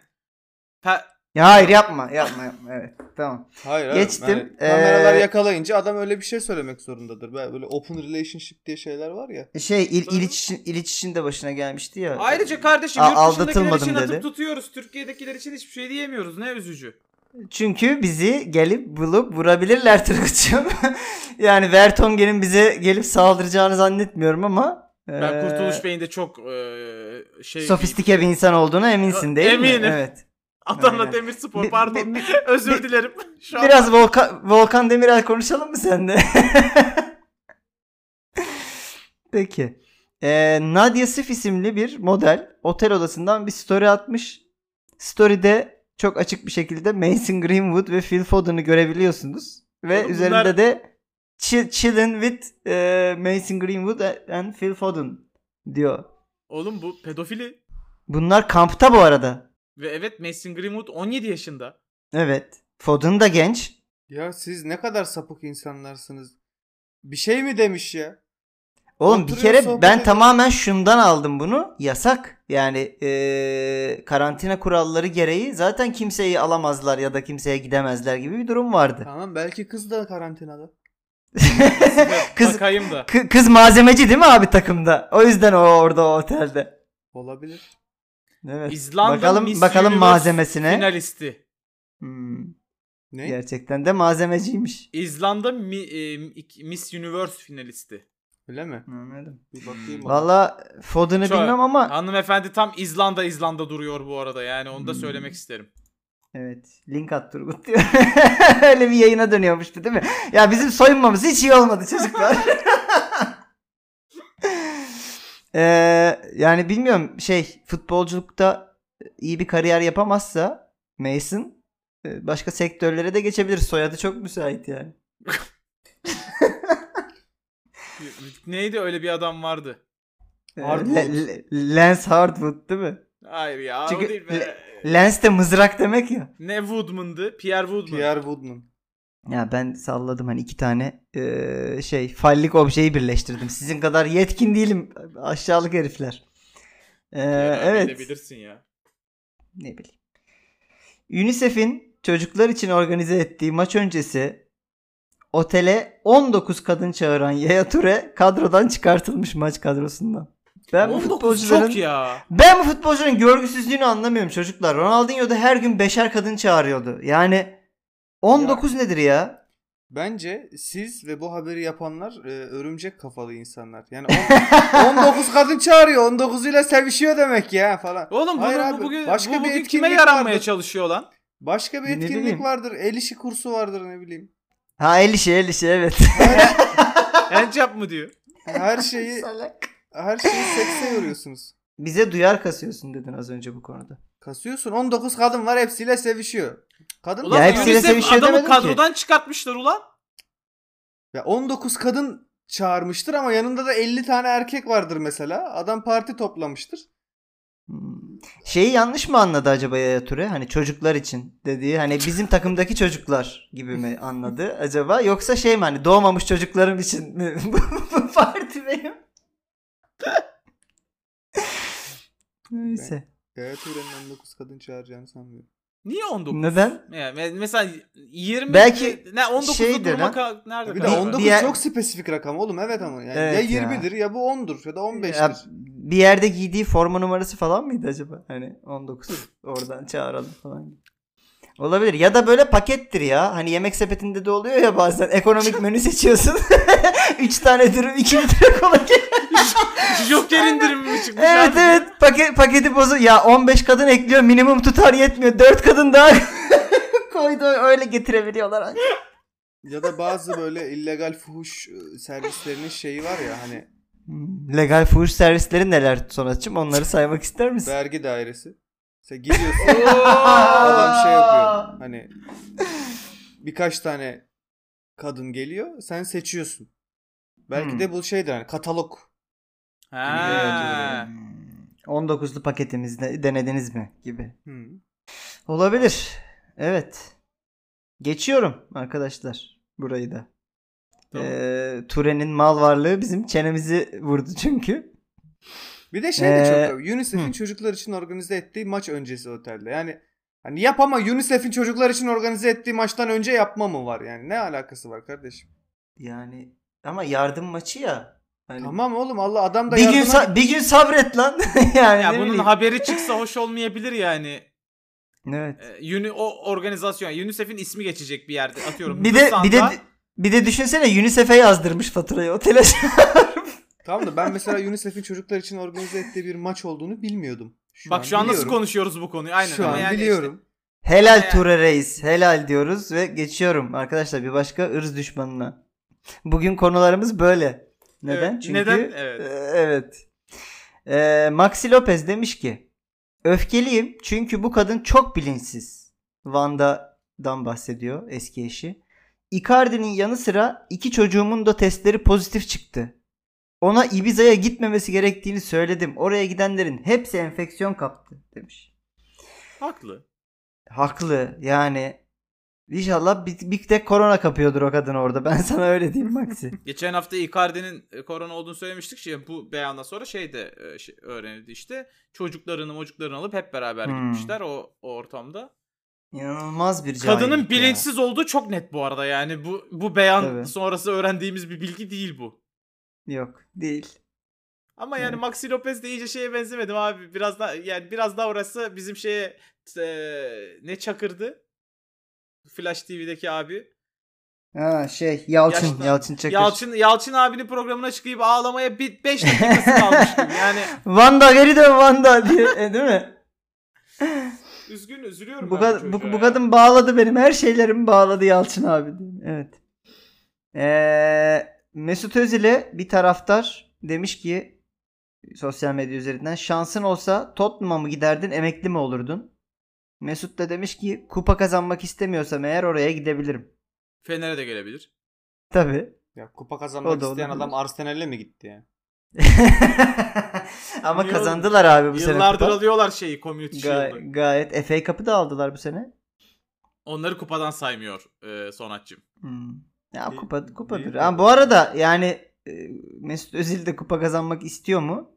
Speaker 1: pe-
Speaker 2: Ya hayır yapma yapma yapma evet tamam.
Speaker 3: Hayır abi,
Speaker 2: Geçtim.
Speaker 3: yani kameralar
Speaker 2: Ee,
Speaker 3: yakalayınca adam öyle bir şey söylemek zorundadır. Böyle böyle open relationship diye şeyler var ya.
Speaker 2: Şey il, İliç'in İliç'in de başına gelmişti ya.
Speaker 1: Ayrıca kardeşim
Speaker 2: A-
Speaker 1: yurt dışındakiler
Speaker 2: aldatılmadım
Speaker 1: için
Speaker 2: dedi.
Speaker 1: atıp tutuyoruz. Türkiye'dekiler için hiçbir şey diyemiyoruz. Ne üzücü.
Speaker 2: Çünkü bizi gelip bulup vurabilirler Turgut'cum. yani Vertonghen'in bize gelip saldıracağını zannetmiyorum ama
Speaker 1: Ben
Speaker 2: eee,
Speaker 1: Kurtuluş Bey'in de çok eee, şey...
Speaker 2: sofistike bir insan olduğuna eminsin değil mi?
Speaker 1: Eminim.
Speaker 2: Evet.
Speaker 1: Adana
Speaker 2: Aynen.
Speaker 1: Demirspor
Speaker 2: Bi-
Speaker 1: pardon.
Speaker 2: bi-
Speaker 1: Özür
Speaker 2: bi-
Speaker 1: dilerim. Şu an-
Speaker 2: Biraz Volkan, Volkan Demirel konuşalım mı sende? Peki. Ee, Nadia Sif isimli bir model otel odasından bir story atmış. Story'de çok açık bir şekilde Mason Greenwood ve Phil Foden'ı görebiliyorsunuz. Ve
Speaker 1: Oğlum
Speaker 2: üzerinde
Speaker 1: bunlar-
Speaker 2: de "Chill- Chillin' with e, Mason Greenwood and Phil Foden diyor.
Speaker 1: Oğlum bu pedofili.
Speaker 2: Bunlar kampta bu arada.
Speaker 1: Ve evet Mason Greenwood 17 yaşında.
Speaker 2: Evet. Foden da genç.
Speaker 3: Ya siz ne kadar sapık insanlarsınız. Bir şey mi demiş ya?
Speaker 2: Oğlum bir
Speaker 3: Oturuyor,
Speaker 2: kere
Speaker 3: sohbet
Speaker 2: ben
Speaker 3: ediyor.
Speaker 2: tamamen şundan aldım bunu. Yasak. Yani eee, karantina kuralları gereği zaten kimseyi alamazlar ya da kimseye gidemezler gibi bir durum vardı.
Speaker 3: Tamam belki kız da karantinada.
Speaker 2: Kız-
Speaker 1: Bakayım da.
Speaker 2: Kı- Kız malzemeci değil mi abi takımda? O yüzden o orada o otelde.
Speaker 3: Olabilir.
Speaker 2: Evet.
Speaker 1: İzlanda
Speaker 2: bakalım
Speaker 1: Miss
Speaker 2: bakalım
Speaker 1: Universe
Speaker 2: malzemesine.
Speaker 1: Finalisti.
Speaker 2: Hmm,
Speaker 3: Ne?
Speaker 2: gerçekten de malzemeciymiş.
Speaker 1: İzlanda Mi- e, iki- Miss Universe finalisti.
Speaker 3: Öyle mi?
Speaker 2: Anladım.
Speaker 3: Bir bakayım. ona.
Speaker 2: Valla Foden'ı
Speaker 1: Çok-
Speaker 2: bilmem ama
Speaker 1: Hanımefendi tam İzlanda İzlanda duruyor bu arada yani onu da
Speaker 2: Hmm.
Speaker 1: söylemek isterim.
Speaker 2: evet link at Turgut diyor. Öyle bir yayına dönüyormuştu değil mi? Ya bizim soyunmamız hiç iyi olmadı çocuklar. Ee, yani bilmiyorum şey futbolculukta iyi bir kariyer yapamazsa Mason e, başka sektörlere de geçebilir. Soyadı çok müsait yani.
Speaker 1: Neydi öyle bir adam vardı.
Speaker 2: Ee,
Speaker 3: Hardwood.
Speaker 2: Le- Le- Lance Hardwood değil mi?
Speaker 1: Hayır ya
Speaker 2: Çünkü
Speaker 1: o değil be.
Speaker 2: Lance de mızrak demek ya.
Speaker 1: Ne Woodman'dı? Pierre Woodman.
Speaker 3: Pierre Woodman.
Speaker 2: Ya ben salladım hani iki tane e, şey fallik objeyi birleştirdim. Sizin kadar yetkin değilim aşağılık herifler. Ee, evet.
Speaker 1: Bilirsin ya.
Speaker 2: ne bileyim. UNICEF'in çocuklar için organize ettiği maç öncesi otele 19 kadın çağıran Yaya Ture kadrodan çıkartılmış maç kadrosundan. Ben bu
Speaker 1: 19
Speaker 2: futbolcuların
Speaker 1: çok ya.
Speaker 2: ben bu futbolcuların görgüsüzlüğünü anlamıyorum çocuklar. Ronaldinho da her gün beşer kadın çağırıyordu. Yani 19 nedir ya?
Speaker 3: Bence siz ve bu haberi yapanlar e, örümcek kafalı insanlar. Yani on- 19 kadın çağırıyor. 19'uyla sevişiyor demek ya falan.
Speaker 1: Oğlum
Speaker 3: Hayır
Speaker 1: bunu,
Speaker 3: abi,
Speaker 1: bu bugün,
Speaker 3: başka
Speaker 1: bu
Speaker 3: bir
Speaker 1: bugün kime
Speaker 3: etkinlik
Speaker 1: yaranmaya
Speaker 3: vardı.
Speaker 1: çalışıyor lan?
Speaker 3: Başka bir
Speaker 2: Ne bileyim.
Speaker 3: etkinlik vardır. El işi kursu vardır ne bileyim.
Speaker 2: Ha el işi el işi evet.
Speaker 3: Her,
Speaker 1: Handjob mı diyor?
Speaker 3: her şeyi
Speaker 2: Salak.
Speaker 3: her şeyi sekse yoruyorsunuz.
Speaker 2: Bize duyar kasıyorsun dedin az önce bu konuda.
Speaker 3: Kasıyorsun 19 kadın var hepsiyle sevişiyor. Kadın
Speaker 1: Ulan
Speaker 2: Ya
Speaker 1: ya
Speaker 2: hepsiyle sevişiyor
Speaker 1: adamı
Speaker 2: demedim ki.
Speaker 1: kadrodan çıkartmışlar ulan.
Speaker 3: Ya 19 kadın çağırmıştır ama yanında da 50 tane erkek vardır mesela. Adam parti toplamıştır.
Speaker 2: Hmm. Şeyi yanlış mı anladı acaba Yaya Ture? Hani çocuklar için dediği hani bizim takımdaki çocuklar gibi mi anladı acaba? Yoksa şey mi hani doğmamış çocuklarım için mi bu bu parti benim? Neyse.
Speaker 3: Evet Turan'ın 19 kadın çağıracağını sanmıyorum.
Speaker 1: Niye 19?
Speaker 2: Neden?
Speaker 1: Ya, me- mesela 20
Speaker 2: Hmm. Belki
Speaker 1: ne 19
Speaker 2: şeydir
Speaker 1: durma
Speaker 2: lan.
Speaker 1: ka- nerede?
Speaker 3: Bir de
Speaker 1: kalıyor?
Speaker 2: Diğer-
Speaker 3: 19
Speaker 2: diğer-
Speaker 3: çok spesifik rakam oğlum evet ama yani
Speaker 2: Evet
Speaker 3: ya
Speaker 2: ya.
Speaker 3: 20'dir ya. bu 10'dur ya da 15'tir.
Speaker 2: Ya, bir yerde giydiği forma numarası falan mıydı acaba? Hani 19 oradan çağıralım falan. gibi. Olabilir. Ya da böyle pakettir ya. Hani yemek sepetinde de oluyor ya bazen. Ekonomik menü seçiyorsun. 3 tane dürüm, 2 litre kola geliyor.
Speaker 1: Joker indirimi mi çıkmış
Speaker 2: Evet
Speaker 1: abi?
Speaker 2: evet. Paket, paketi bozu. Ya 15 kadın ekliyor. Minimum tutar yetmiyor. 4 kadın daha koydu. Öyle getirebiliyorlar. ancak.
Speaker 3: Ya da bazı böyle illegal fuhuş e, servislerinin şeyi var ya hani
Speaker 2: Hmm, Legal fuhuş servisleri neler Sonatçım? Onları saymak ister misin?
Speaker 3: vergi dairesi. Sen gidiyorsun
Speaker 1: Oo!
Speaker 3: adam şey yapıyor hani birkaç tane kadın geliyor sen seçiyorsun. Belki
Speaker 2: Hmm.
Speaker 3: de bu şeydir hani katalog.
Speaker 1: Ha.
Speaker 2: 19'lu paketimizde denediniz mi gibi.
Speaker 3: Hmm.
Speaker 2: Olabilir. Evet. Geçiyorum arkadaşlar burayı da.
Speaker 1: Tamam.
Speaker 2: Ee, Ture'nin mal varlığı bizim çenemizi vurdu çünkü.
Speaker 3: Bir de şey de
Speaker 2: Ee,
Speaker 3: çok UNICEF'in
Speaker 2: hı.
Speaker 3: çocuklar için organize ettiği maç öncesi otelde. Yani Hani yap ama UNICEF'in çocuklar için organize ettiği maçtan önce yapma mı var yani? Ne alakası var kardeşim?
Speaker 2: Yani ama yardım maçı ya. Hani
Speaker 3: Tamam oğlum Allah adam da
Speaker 2: bir gün
Speaker 3: yardıma-
Speaker 2: sa- bir gün sabret lan. yani
Speaker 1: Ya
Speaker 2: ne
Speaker 1: bunun
Speaker 2: bileyim.
Speaker 1: haberi çıksa hoş olmayabilir yani.
Speaker 2: Evet.
Speaker 1: Ee, Uni o organizasyon UNICEF'in ismi geçecek bir yerde atıyorum.
Speaker 2: Bir de bir de
Speaker 1: Hırsan'da-
Speaker 2: bir de düşünsene UNICEF'e yazdırmış faturayı o telaş.
Speaker 3: Tamam da ben mesela UNICEF'in çocuklar için organize ettiği bir maç olduğunu bilmiyordum.
Speaker 1: bak şu an nasıl
Speaker 3: biliyorum.
Speaker 1: konuşuyoruz bu konuyu? Aynen.
Speaker 3: Şu
Speaker 1: ama
Speaker 3: an
Speaker 1: yani
Speaker 3: biliyorum.
Speaker 2: helal
Speaker 1: Yani-
Speaker 2: Ture Reis. Helal diyoruz ve geçiyorum arkadaşlar bir başka ırz düşmanına. Bugün konularımız böyle. Neden?
Speaker 1: Evet,
Speaker 2: Çünkü
Speaker 1: neden? Evet.
Speaker 2: Ee, evet. Ee, Maxi Lopez demiş ki öfkeliyim çünkü bu kadın çok bilinçsiz. Vanda'dan bahsediyor eski eşi. Icardi'nin yanı sıra iki çocuğumun da testleri pozitif çıktı. Ona Ibiza'ya gitmemesi gerektiğini söyledim. Oraya gidenlerin hepsi enfeksiyon kaptı demiş.
Speaker 1: Haklı.
Speaker 2: Haklı yani. İnşallah bir, bir tek korona kapıyordur o kadın orada. Ben sana öyle diyeyim Maxi.
Speaker 1: Geçen hafta Icardi'nin e, korona olduğunu söylemiştik. Şimdi bu beyandan sonra şey de e, şey öğrenildi işte. Çocuklarını mocuklarını alıp hep beraber
Speaker 2: Hmm.
Speaker 1: gitmişler o, o ortamda.
Speaker 2: İnanılmaz bir cahillik
Speaker 1: Kadının
Speaker 2: ya.
Speaker 1: bilinçsiz olduğu çok net bu arada yani. Bu, bu beyan
Speaker 2: Tabii.
Speaker 1: sonrası öğrendiğimiz bir bilgi değil bu.
Speaker 2: Yok değil.
Speaker 1: Ama yani
Speaker 2: Evet.
Speaker 1: Maxi Lopez de iyice şeye benzemedim abi. Biraz daha yani biraz daha orası bizim şeye e, ne çakırdı? Flash TV'deki abi.
Speaker 2: Ha şey Yalçın
Speaker 1: Yaşlı-
Speaker 2: Yalçın Çakır.
Speaker 1: Yalçın Yalçın abinin programına çıkıp ağlamaya 5 dakikası kalmış gibi. Yani
Speaker 2: Vanda geri dön Vanda diye e, değil mi?
Speaker 1: üzgün üzülüyorum
Speaker 2: bu,
Speaker 1: ben
Speaker 2: kad-
Speaker 1: çocuğa
Speaker 2: bu, bu
Speaker 1: ya.
Speaker 2: kadın bağladı benim her şeylerimi bağladı Yalçın abi. diye. Evet. Ee, Mesut Özil'e bir taraftar demiş ki sosyal medya üzerinden şansın olsa Tottenham'a mı giderdin emekli mi olurdun? Mesut da demiş ki kupa kazanmak istemiyorsam eğer oraya gidebilirim.
Speaker 1: Fener'e de gelebilir.
Speaker 2: Tabii.
Speaker 3: Ya kupa
Speaker 2: O
Speaker 3: kazanmak
Speaker 2: da
Speaker 3: isteyen
Speaker 2: olabilir.
Speaker 3: adam Arsenal'e mi gitti ya?
Speaker 2: Ama
Speaker 1: Yıl-
Speaker 2: kazandılar abi bu sene.
Speaker 1: Yıllardır
Speaker 2: kupa.
Speaker 1: alıyorlar şeyi community shield'ı.
Speaker 2: Gay- gayet FA Cup'ı da aldılar bu sene.
Speaker 1: Onları kupadan saymıyor e, Sonatçım.
Speaker 2: Hmm. Ya
Speaker 3: Değil-
Speaker 2: kupa kupadır.
Speaker 3: değil
Speaker 2: Ha,
Speaker 3: mi?
Speaker 2: bu arada yani e, Mesut Özil de kupa kazanmak istiyor mu?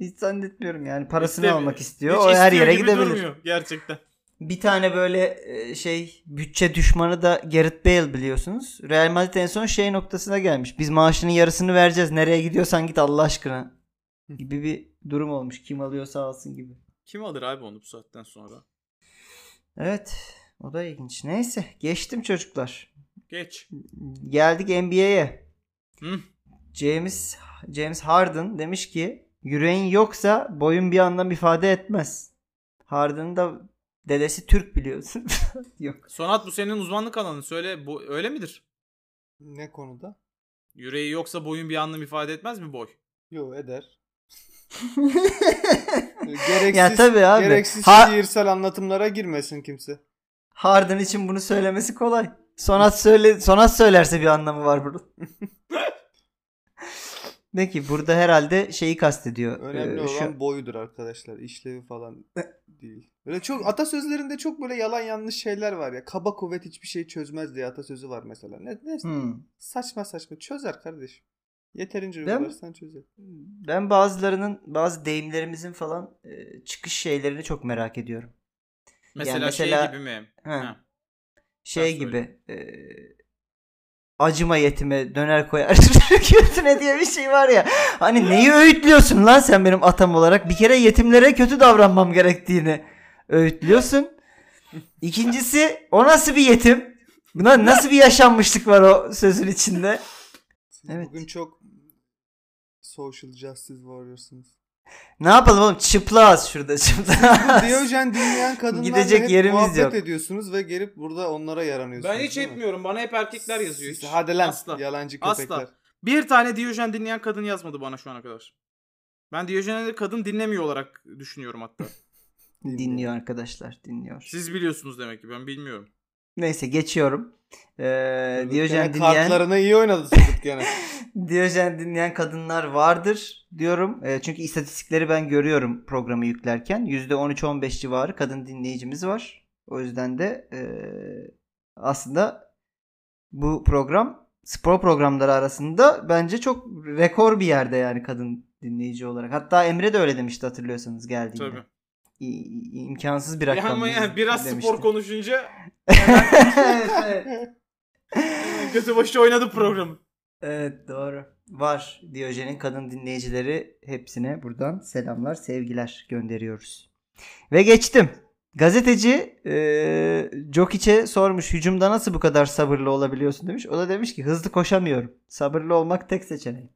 Speaker 2: Hiç zannetmiyorum yani parasını
Speaker 1: İstemi-
Speaker 2: almak istiyor.
Speaker 1: Hiç
Speaker 2: o her
Speaker 1: istiyor
Speaker 2: yere
Speaker 1: gibi
Speaker 2: gidebilir.
Speaker 1: durmuyor gerçekten.
Speaker 2: Bir tane böyle e, şey bütçe düşmanı da Gareth Bale biliyorsunuz. Real Madrid en son şey noktasına gelmiş. Biz maaşının yarısını vereceğiz. Nereye gidiyorsan git Allah aşkına gibi bir durum olmuş. Kim alıyorsa alsın gibi.
Speaker 1: Kim alır abi onu bu saatten sonra?
Speaker 2: Evet. O da ilginç. Neyse geçtim çocuklar.
Speaker 1: Geç.
Speaker 2: Geldik NBA'ye.
Speaker 1: Hı.
Speaker 2: James James Harden demiş ki yüreğin yoksa boyun bir anlam ifade etmez. Harden'ın da dedesi Türk biliyorsun. Yok.
Speaker 1: Sonat bu senin uzmanlık alanın. Söyle bu öyle midir?
Speaker 3: Ne konuda?
Speaker 1: Yüreği yoksa boyun bir anlam ifade etmez mi boy?
Speaker 3: Yo eder. Gereksiz,
Speaker 2: ya tabii abi.
Speaker 3: gereksiz
Speaker 2: Ha-
Speaker 3: şiirsel anlatımlara girmesin kimse.
Speaker 2: Harden için bunu söylemesi kolay. Sonat söyle Sonat söylerse bir anlamı var burada. Peki burada herhalde şeyi kastediyor.
Speaker 3: Önemli
Speaker 2: Ee, şu-
Speaker 3: olan boyudur arkadaşlar. İşlevi falan değil. Böyle çok atasözlerinde çok böyle yalan yanlış şeyler var ya. Kaba kuvvet hiçbir şey çözmez diye atasözü var mesela. Ne, ne
Speaker 2: Hmm.
Speaker 3: saçma saçma çözer kardeşim. Yeterince
Speaker 2: mi?
Speaker 3: uygularsan çözer.
Speaker 2: Ben bazılarının bazı deyimlerimizin falan e, çıkış şeylerini çok merak ediyorum.
Speaker 1: Mesela,
Speaker 2: mesela-
Speaker 1: şey gibi mi?
Speaker 2: He.
Speaker 1: Ha.
Speaker 2: şey
Speaker 1: Ben
Speaker 2: gibi e, acıma yetime döner koyar götüne diye bir şey var ya. Hani neyi öğütlüyorsun lan sen benim atam olarak? Bir kere yetimlere kötü davranmam gerektiğini öğütlüyorsun. İkincisi o nasıl bir yetim? Buna nasıl bir yaşanmışlık var o sözün içinde?
Speaker 3: Siz
Speaker 2: Evet.
Speaker 3: Bugün çok social justice warriors'ınız.
Speaker 2: Ne yapalım oğlum çıplaz şurada çıplaz.
Speaker 3: Diyojen dinleyen kadınlarla
Speaker 2: Gidecek
Speaker 3: hep
Speaker 2: yerimiz
Speaker 3: muhabbet
Speaker 2: yok.
Speaker 3: ediyorsunuz ve gelip burada onlara yaranıyorsunuz.
Speaker 1: Ben hiç
Speaker 3: değil mi?
Speaker 1: etmiyorum. Bana hep erkekler yazıyor. Hiç.
Speaker 3: Siz- Hadi lan
Speaker 1: Asla.
Speaker 3: yalancı
Speaker 1: Asla.
Speaker 3: köpekler.
Speaker 1: Bir tane Diyojen dinleyen kadın yazmadı bana şu ana kadar. Ben Diyojen'i de kadın dinlemiyor olarak düşünüyorum hatta.
Speaker 2: dinliyor arkadaşlar dinliyor.
Speaker 1: Siz biliyorsunuz demek ki ben bilmiyorum.
Speaker 2: Neyse geçiyorum. Ee,
Speaker 3: Turgut
Speaker 2: Diyojen
Speaker 3: gene
Speaker 2: dinleyen
Speaker 3: Kartlarına iyi oynadı Turgut gene.
Speaker 2: Diyojen dinleyen kadınlar vardır diyorum. E, çünkü istatistikleri ben görüyorum programı yüklerken. %13-15 civarı kadın dinleyicimiz var. O yüzden de e, aslında bu program spor programları arasında bence çok rekor bir yerde yani kadın dinleyici olarak. Hatta Emre de öyle demişti hatırlıyorsanız geldiğinde.
Speaker 1: Tabii.
Speaker 2: i- imkansız bir rakam.
Speaker 1: ama yani biraz spor
Speaker 2: demişti.
Speaker 1: konuşunca
Speaker 2: evet, evet.
Speaker 1: kötü başı oynadı programı.
Speaker 2: Evet doğru. Var. Diyojen'in kadın dinleyicileri hepsine buradan selamlar, sevgiler gönderiyoruz. Ve geçtim. Gazeteci eee Jokic'e sormuş hücumda nasıl bu kadar sabırlı olabiliyorsun demiş. O da demiş ki hızlı koşamıyorum. Sabırlı olmak tek seçeneğim.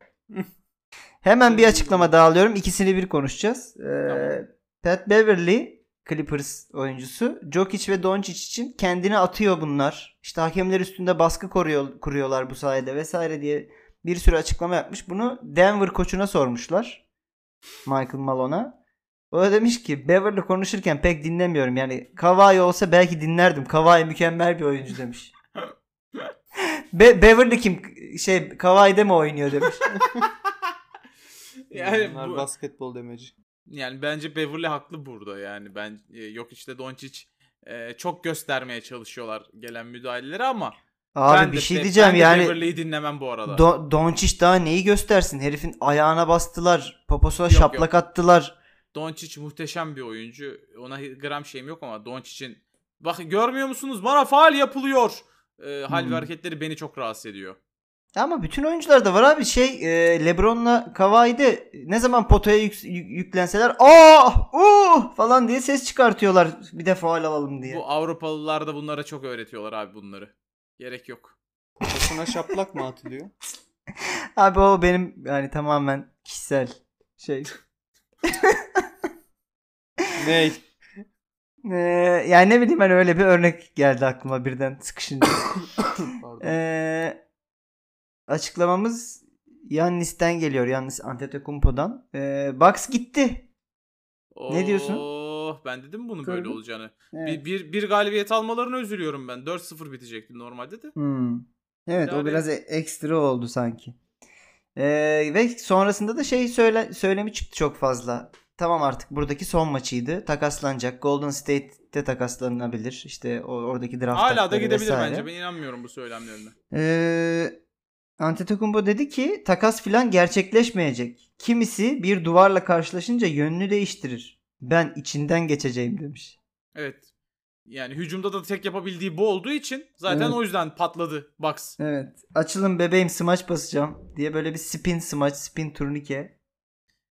Speaker 2: Hemen bir açıklama daha alıyorum. İkisini bir konuşacağız. Eee,
Speaker 1: Tamam.
Speaker 2: Pat Beverly Clippers oyuncusu. Jokic ve Doncic için kendini atıyor bunlar. İşte hakemler üstünde baskı koruyor, kuruyorlar bu sayede vesaire diye bir sürü açıklama yapmış. Bunu Denver koçuna sormuşlar. Michael Malone'a. O da demiş ki Beverly konuşurken pek dinlemiyorum. Yani Kawhi olsa belki dinlerdim. Kawhi mükemmel bir oyuncu demiş. Be- Beverly kim? Şey Kawhi'de mi oynuyor demiş.
Speaker 1: Yani
Speaker 3: Hmm, Bunlar
Speaker 1: bu-
Speaker 3: basketbol demeci.
Speaker 1: Yani bence Beverly haklı burada yani. Ben e, yok işte Doncic e, çok göstermeye çalışıyorlar gelen müdahaleleri ama
Speaker 2: Abi
Speaker 1: ben
Speaker 2: bir
Speaker 1: de
Speaker 2: şey
Speaker 1: Steph-
Speaker 2: diyeceğim
Speaker 1: ben de
Speaker 2: yani.
Speaker 1: Beverly'yi dinlemem bu arada.
Speaker 2: Do- Doncic daha neyi göstersin? Herifin ayağına bastılar. Poposuna
Speaker 1: Yok, yok.
Speaker 2: şaplak attılar.
Speaker 1: Doncic muhteşem bir oyuncu. Ona gram şeyim yok ama Doncic'in bakın görmüyor musunuz? Bana faal yapılıyor. E, hal
Speaker 2: Hmm.
Speaker 1: ve hareketleri beni çok rahatsız ediyor.
Speaker 2: Ama bütün oyuncularda var abi. Şey e, Lebron'la Kawhi'de ne zaman potaya yüks- yük- yüklenseler ah uh falan diye ses çıkartıyorlar. Bir de faal alalım diye.
Speaker 1: Bu Avrupalılar da bunlara çok öğretiyorlar abi bunları. Gerek yok.
Speaker 3: Başına şaplak mı atılıyor?
Speaker 2: Abi o benim yani tamamen kişisel şey.
Speaker 3: Ney?
Speaker 2: E, yani ne bileyim ben öyle bir örnek geldi aklıma birden sıkışınca.
Speaker 3: Pardon.
Speaker 2: Ee, açıklamamız Yannis'ten geliyor. Yannis Antetokounmpo'dan. Ee, Bucks gitti. Ne diyorsun?
Speaker 1: Oh, ben dedim bunun böyle
Speaker 2: Gördün.
Speaker 1: olacağını. Bir, bir, bir galibiyet almalarını üzülüyorum ben. 4-0 bitecekti normalde de.
Speaker 2: Hmm. Evet o
Speaker 1: Yani-
Speaker 2: biraz e- ekstra oldu sanki. Ee, ve sonrasında da şey söyle, söylemi çıktı çok fazla. Tamam artık buradaki son maçıydı. Takaslanacak. Golden State'de takaslanabilir. İşte o, oradaki draft
Speaker 1: Hala da
Speaker 2: hakları
Speaker 1: gidebilir
Speaker 2: vesaire.
Speaker 1: bence. Ben inanmıyorum bu söylemlerine.
Speaker 2: Ee, Antetokounmpo dedi ki takas filan gerçekleşmeyecek. Kimisi bir duvarla karşılaşınca yönünü değiştirir. Ben içinden geçeceğim demiş.
Speaker 1: Evet. Yani hücumda da tek yapabildiği bu olduğu için zaten
Speaker 2: Evet.
Speaker 1: o yüzden patladı Bucks.
Speaker 2: Evet. Açılın bebeğim smaç basacağım diye böyle bir spin smaç, spin turnike.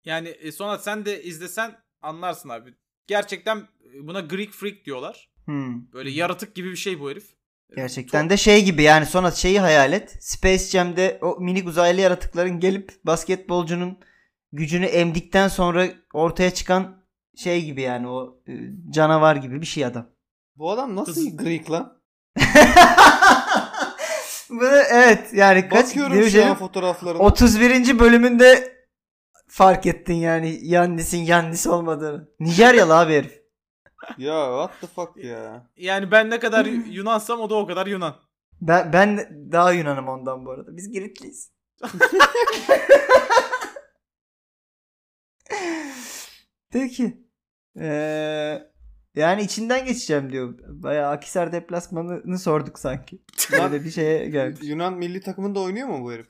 Speaker 1: Yani e, sonra sen de izlesen anlarsın abi. Gerçekten e, buna Greek Freak diyorlar.
Speaker 2: Hmm.
Speaker 1: Böyle yaratık gibi bir şey bu herif. E,
Speaker 2: Gerçekten
Speaker 1: çok-
Speaker 2: de şey gibi yani sonra şeyi hayal et. Space Jam'de o minik uzaylı yaratıkların gelip basketbolcunun gücünü emdikten sonra ortaya çıkan şey gibi yani o e, canavar gibi bir şey adam.
Speaker 3: Bu adam nasıl
Speaker 1: Kız-
Speaker 3: Greek lan?
Speaker 2: Bu da- evet yani kaç
Speaker 3: Bakıyorum şey şu an
Speaker 2: Diyojen'in
Speaker 3: fotoğraflarına.
Speaker 2: 31. bölümünde fark ettin yani Yannis'in Yannis olmadığını. Nijeryalı abi herif.
Speaker 3: Ya what the fuck ya.
Speaker 1: Yani ben ne kadar Yunansam o da o kadar Yunan.
Speaker 2: Ben, ben daha Yunan'ım ondan bu arada. Biz Giritliyiz. Peki. Ee, yani içinden geçeceğim diyor. Bayağı Akisar deplasmanını sorduk sanki. Böyle bir şeye gelmiş.
Speaker 3: Yunan milli takımında oynuyor mu bu herif?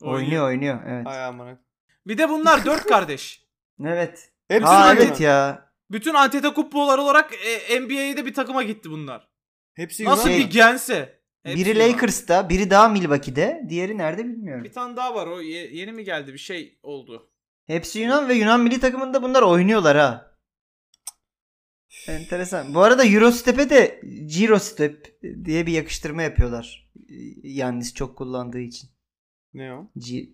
Speaker 2: Oynuyor oynuyor evet.
Speaker 3: Ay amına.
Speaker 1: Bir de bunlar dört kardeş.
Speaker 2: Evet.
Speaker 3: Hepsi
Speaker 2: Ha
Speaker 3: de Yunan.
Speaker 2: evet ya.
Speaker 1: Bütün Antetokounmpo'lar olarak e, NBA'ye de bir takıma gitti bunlar.
Speaker 3: Hepsi Yunan.
Speaker 1: Nasıl
Speaker 2: Şey-
Speaker 1: bir gense. Hepsi
Speaker 2: Biri
Speaker 1: Yunan.
Speaker 2: Lakers'ta, biri daha Milwaukee'de, diğeri nerede bilmiyorum.
Speaker 1: Bir tane daha var o ye- yeni mi geldi bir şey oldu.
Speaker 2: Hepsi Yunan ve Yunan milli takımında bunlar oynuyorlar ha. Enteresan. Bu arada Eurostep'e de Girostep diye bir yakıştırma yapıyorlar. Yannis çok kullandığı için.
Speaker 3: Ne o?
Speaker 2: Ci-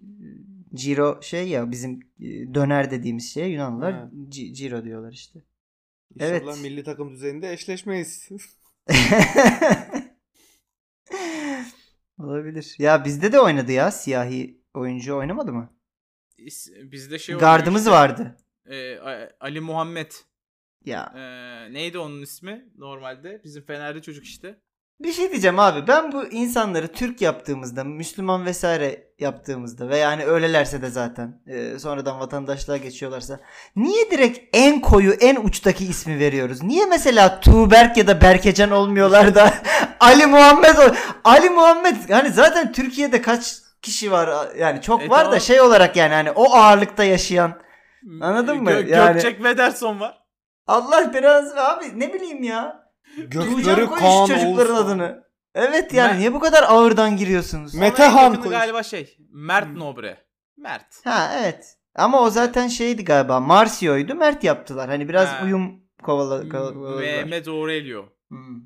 Speaker 2: Giro şey ya bizim e, döner dediğimiz şey Yunanlılar
Speaker 3: Ha.
Speaker 2: Ci- Giro diyorlar işte. Evet.
Speaker 3: İnşallah milli takım düzeyinde eşleşmeyiz.
Speaker 2: Olabilir. Ya bizde de oynadı ya siyahi oyuncu oynamadı mı?
Speaker 1: İs- Bizde şey oluyor
Speaker 2: Gardımız
Speaker 1: işte,
Speaker 2: vardı.
Speaker 1: e, A- Ali Muhammed.
Speaker 2: Ya
Speaker 1: E, neydi onun ismi normalde? Bizim Fenerli çocuk işte.
Speaker 2: Bir şey diyeceğim abi. Ben bu insanları Türk yaptığımızda, Müslüman vesaire yaptığımızda ve yani öylelerse de zaten e, sonradan vatandaşlığa geçiyorlarsa niye direkt en koyu, en uçtaki ismi veriyoruz? Niye mesela Tuğberk ya da Berkecan olmuyorlar da Ali Muhammed ol- Ali Muhammed hani zaten Türkiye'de kaç kişi var yani çok
Speaker 1: E,
Speaker 2: var da
Speaker 1: tamam.
Speaker 2: şey olarak yani hani o ağırlıkta yaşayan Anladın mı?
Speaker 1: Gö-
Speaker 2: Yani-
Speaker 1: Gökçek Vederson var.
Speaker 2: Allah belanızı abi ne bileyim ya.
Speaker 3: Gökleri
Speaker 2: Tuğcan koy
Speaker 3: Kaan
Speaker 2: şu çocukların
Speaker 3: Oğuz.
Speaker 2: adını. Evet yani
Speaker 1: Ben-
Speaker 2: niye bu kadar ağırdan giriyorsunuz?
Speaker 3: Me- Mete Han koy.
Speaker 1: galiba şey. Mert
Speaker 3: Hmm.
Speaker 1: Nobre. Mert.
Speaker 2: ha evet. Ama o zaten şeydi galiba. Marcio'ydu. Mert yaptılar. Hani biraz
Speaker 1: Ha. Hmm,
Speaker 2: uyum kovala- kovaladılar.
Speaker 1: Mehmet Aurelio.
Speaker 2: Hmm.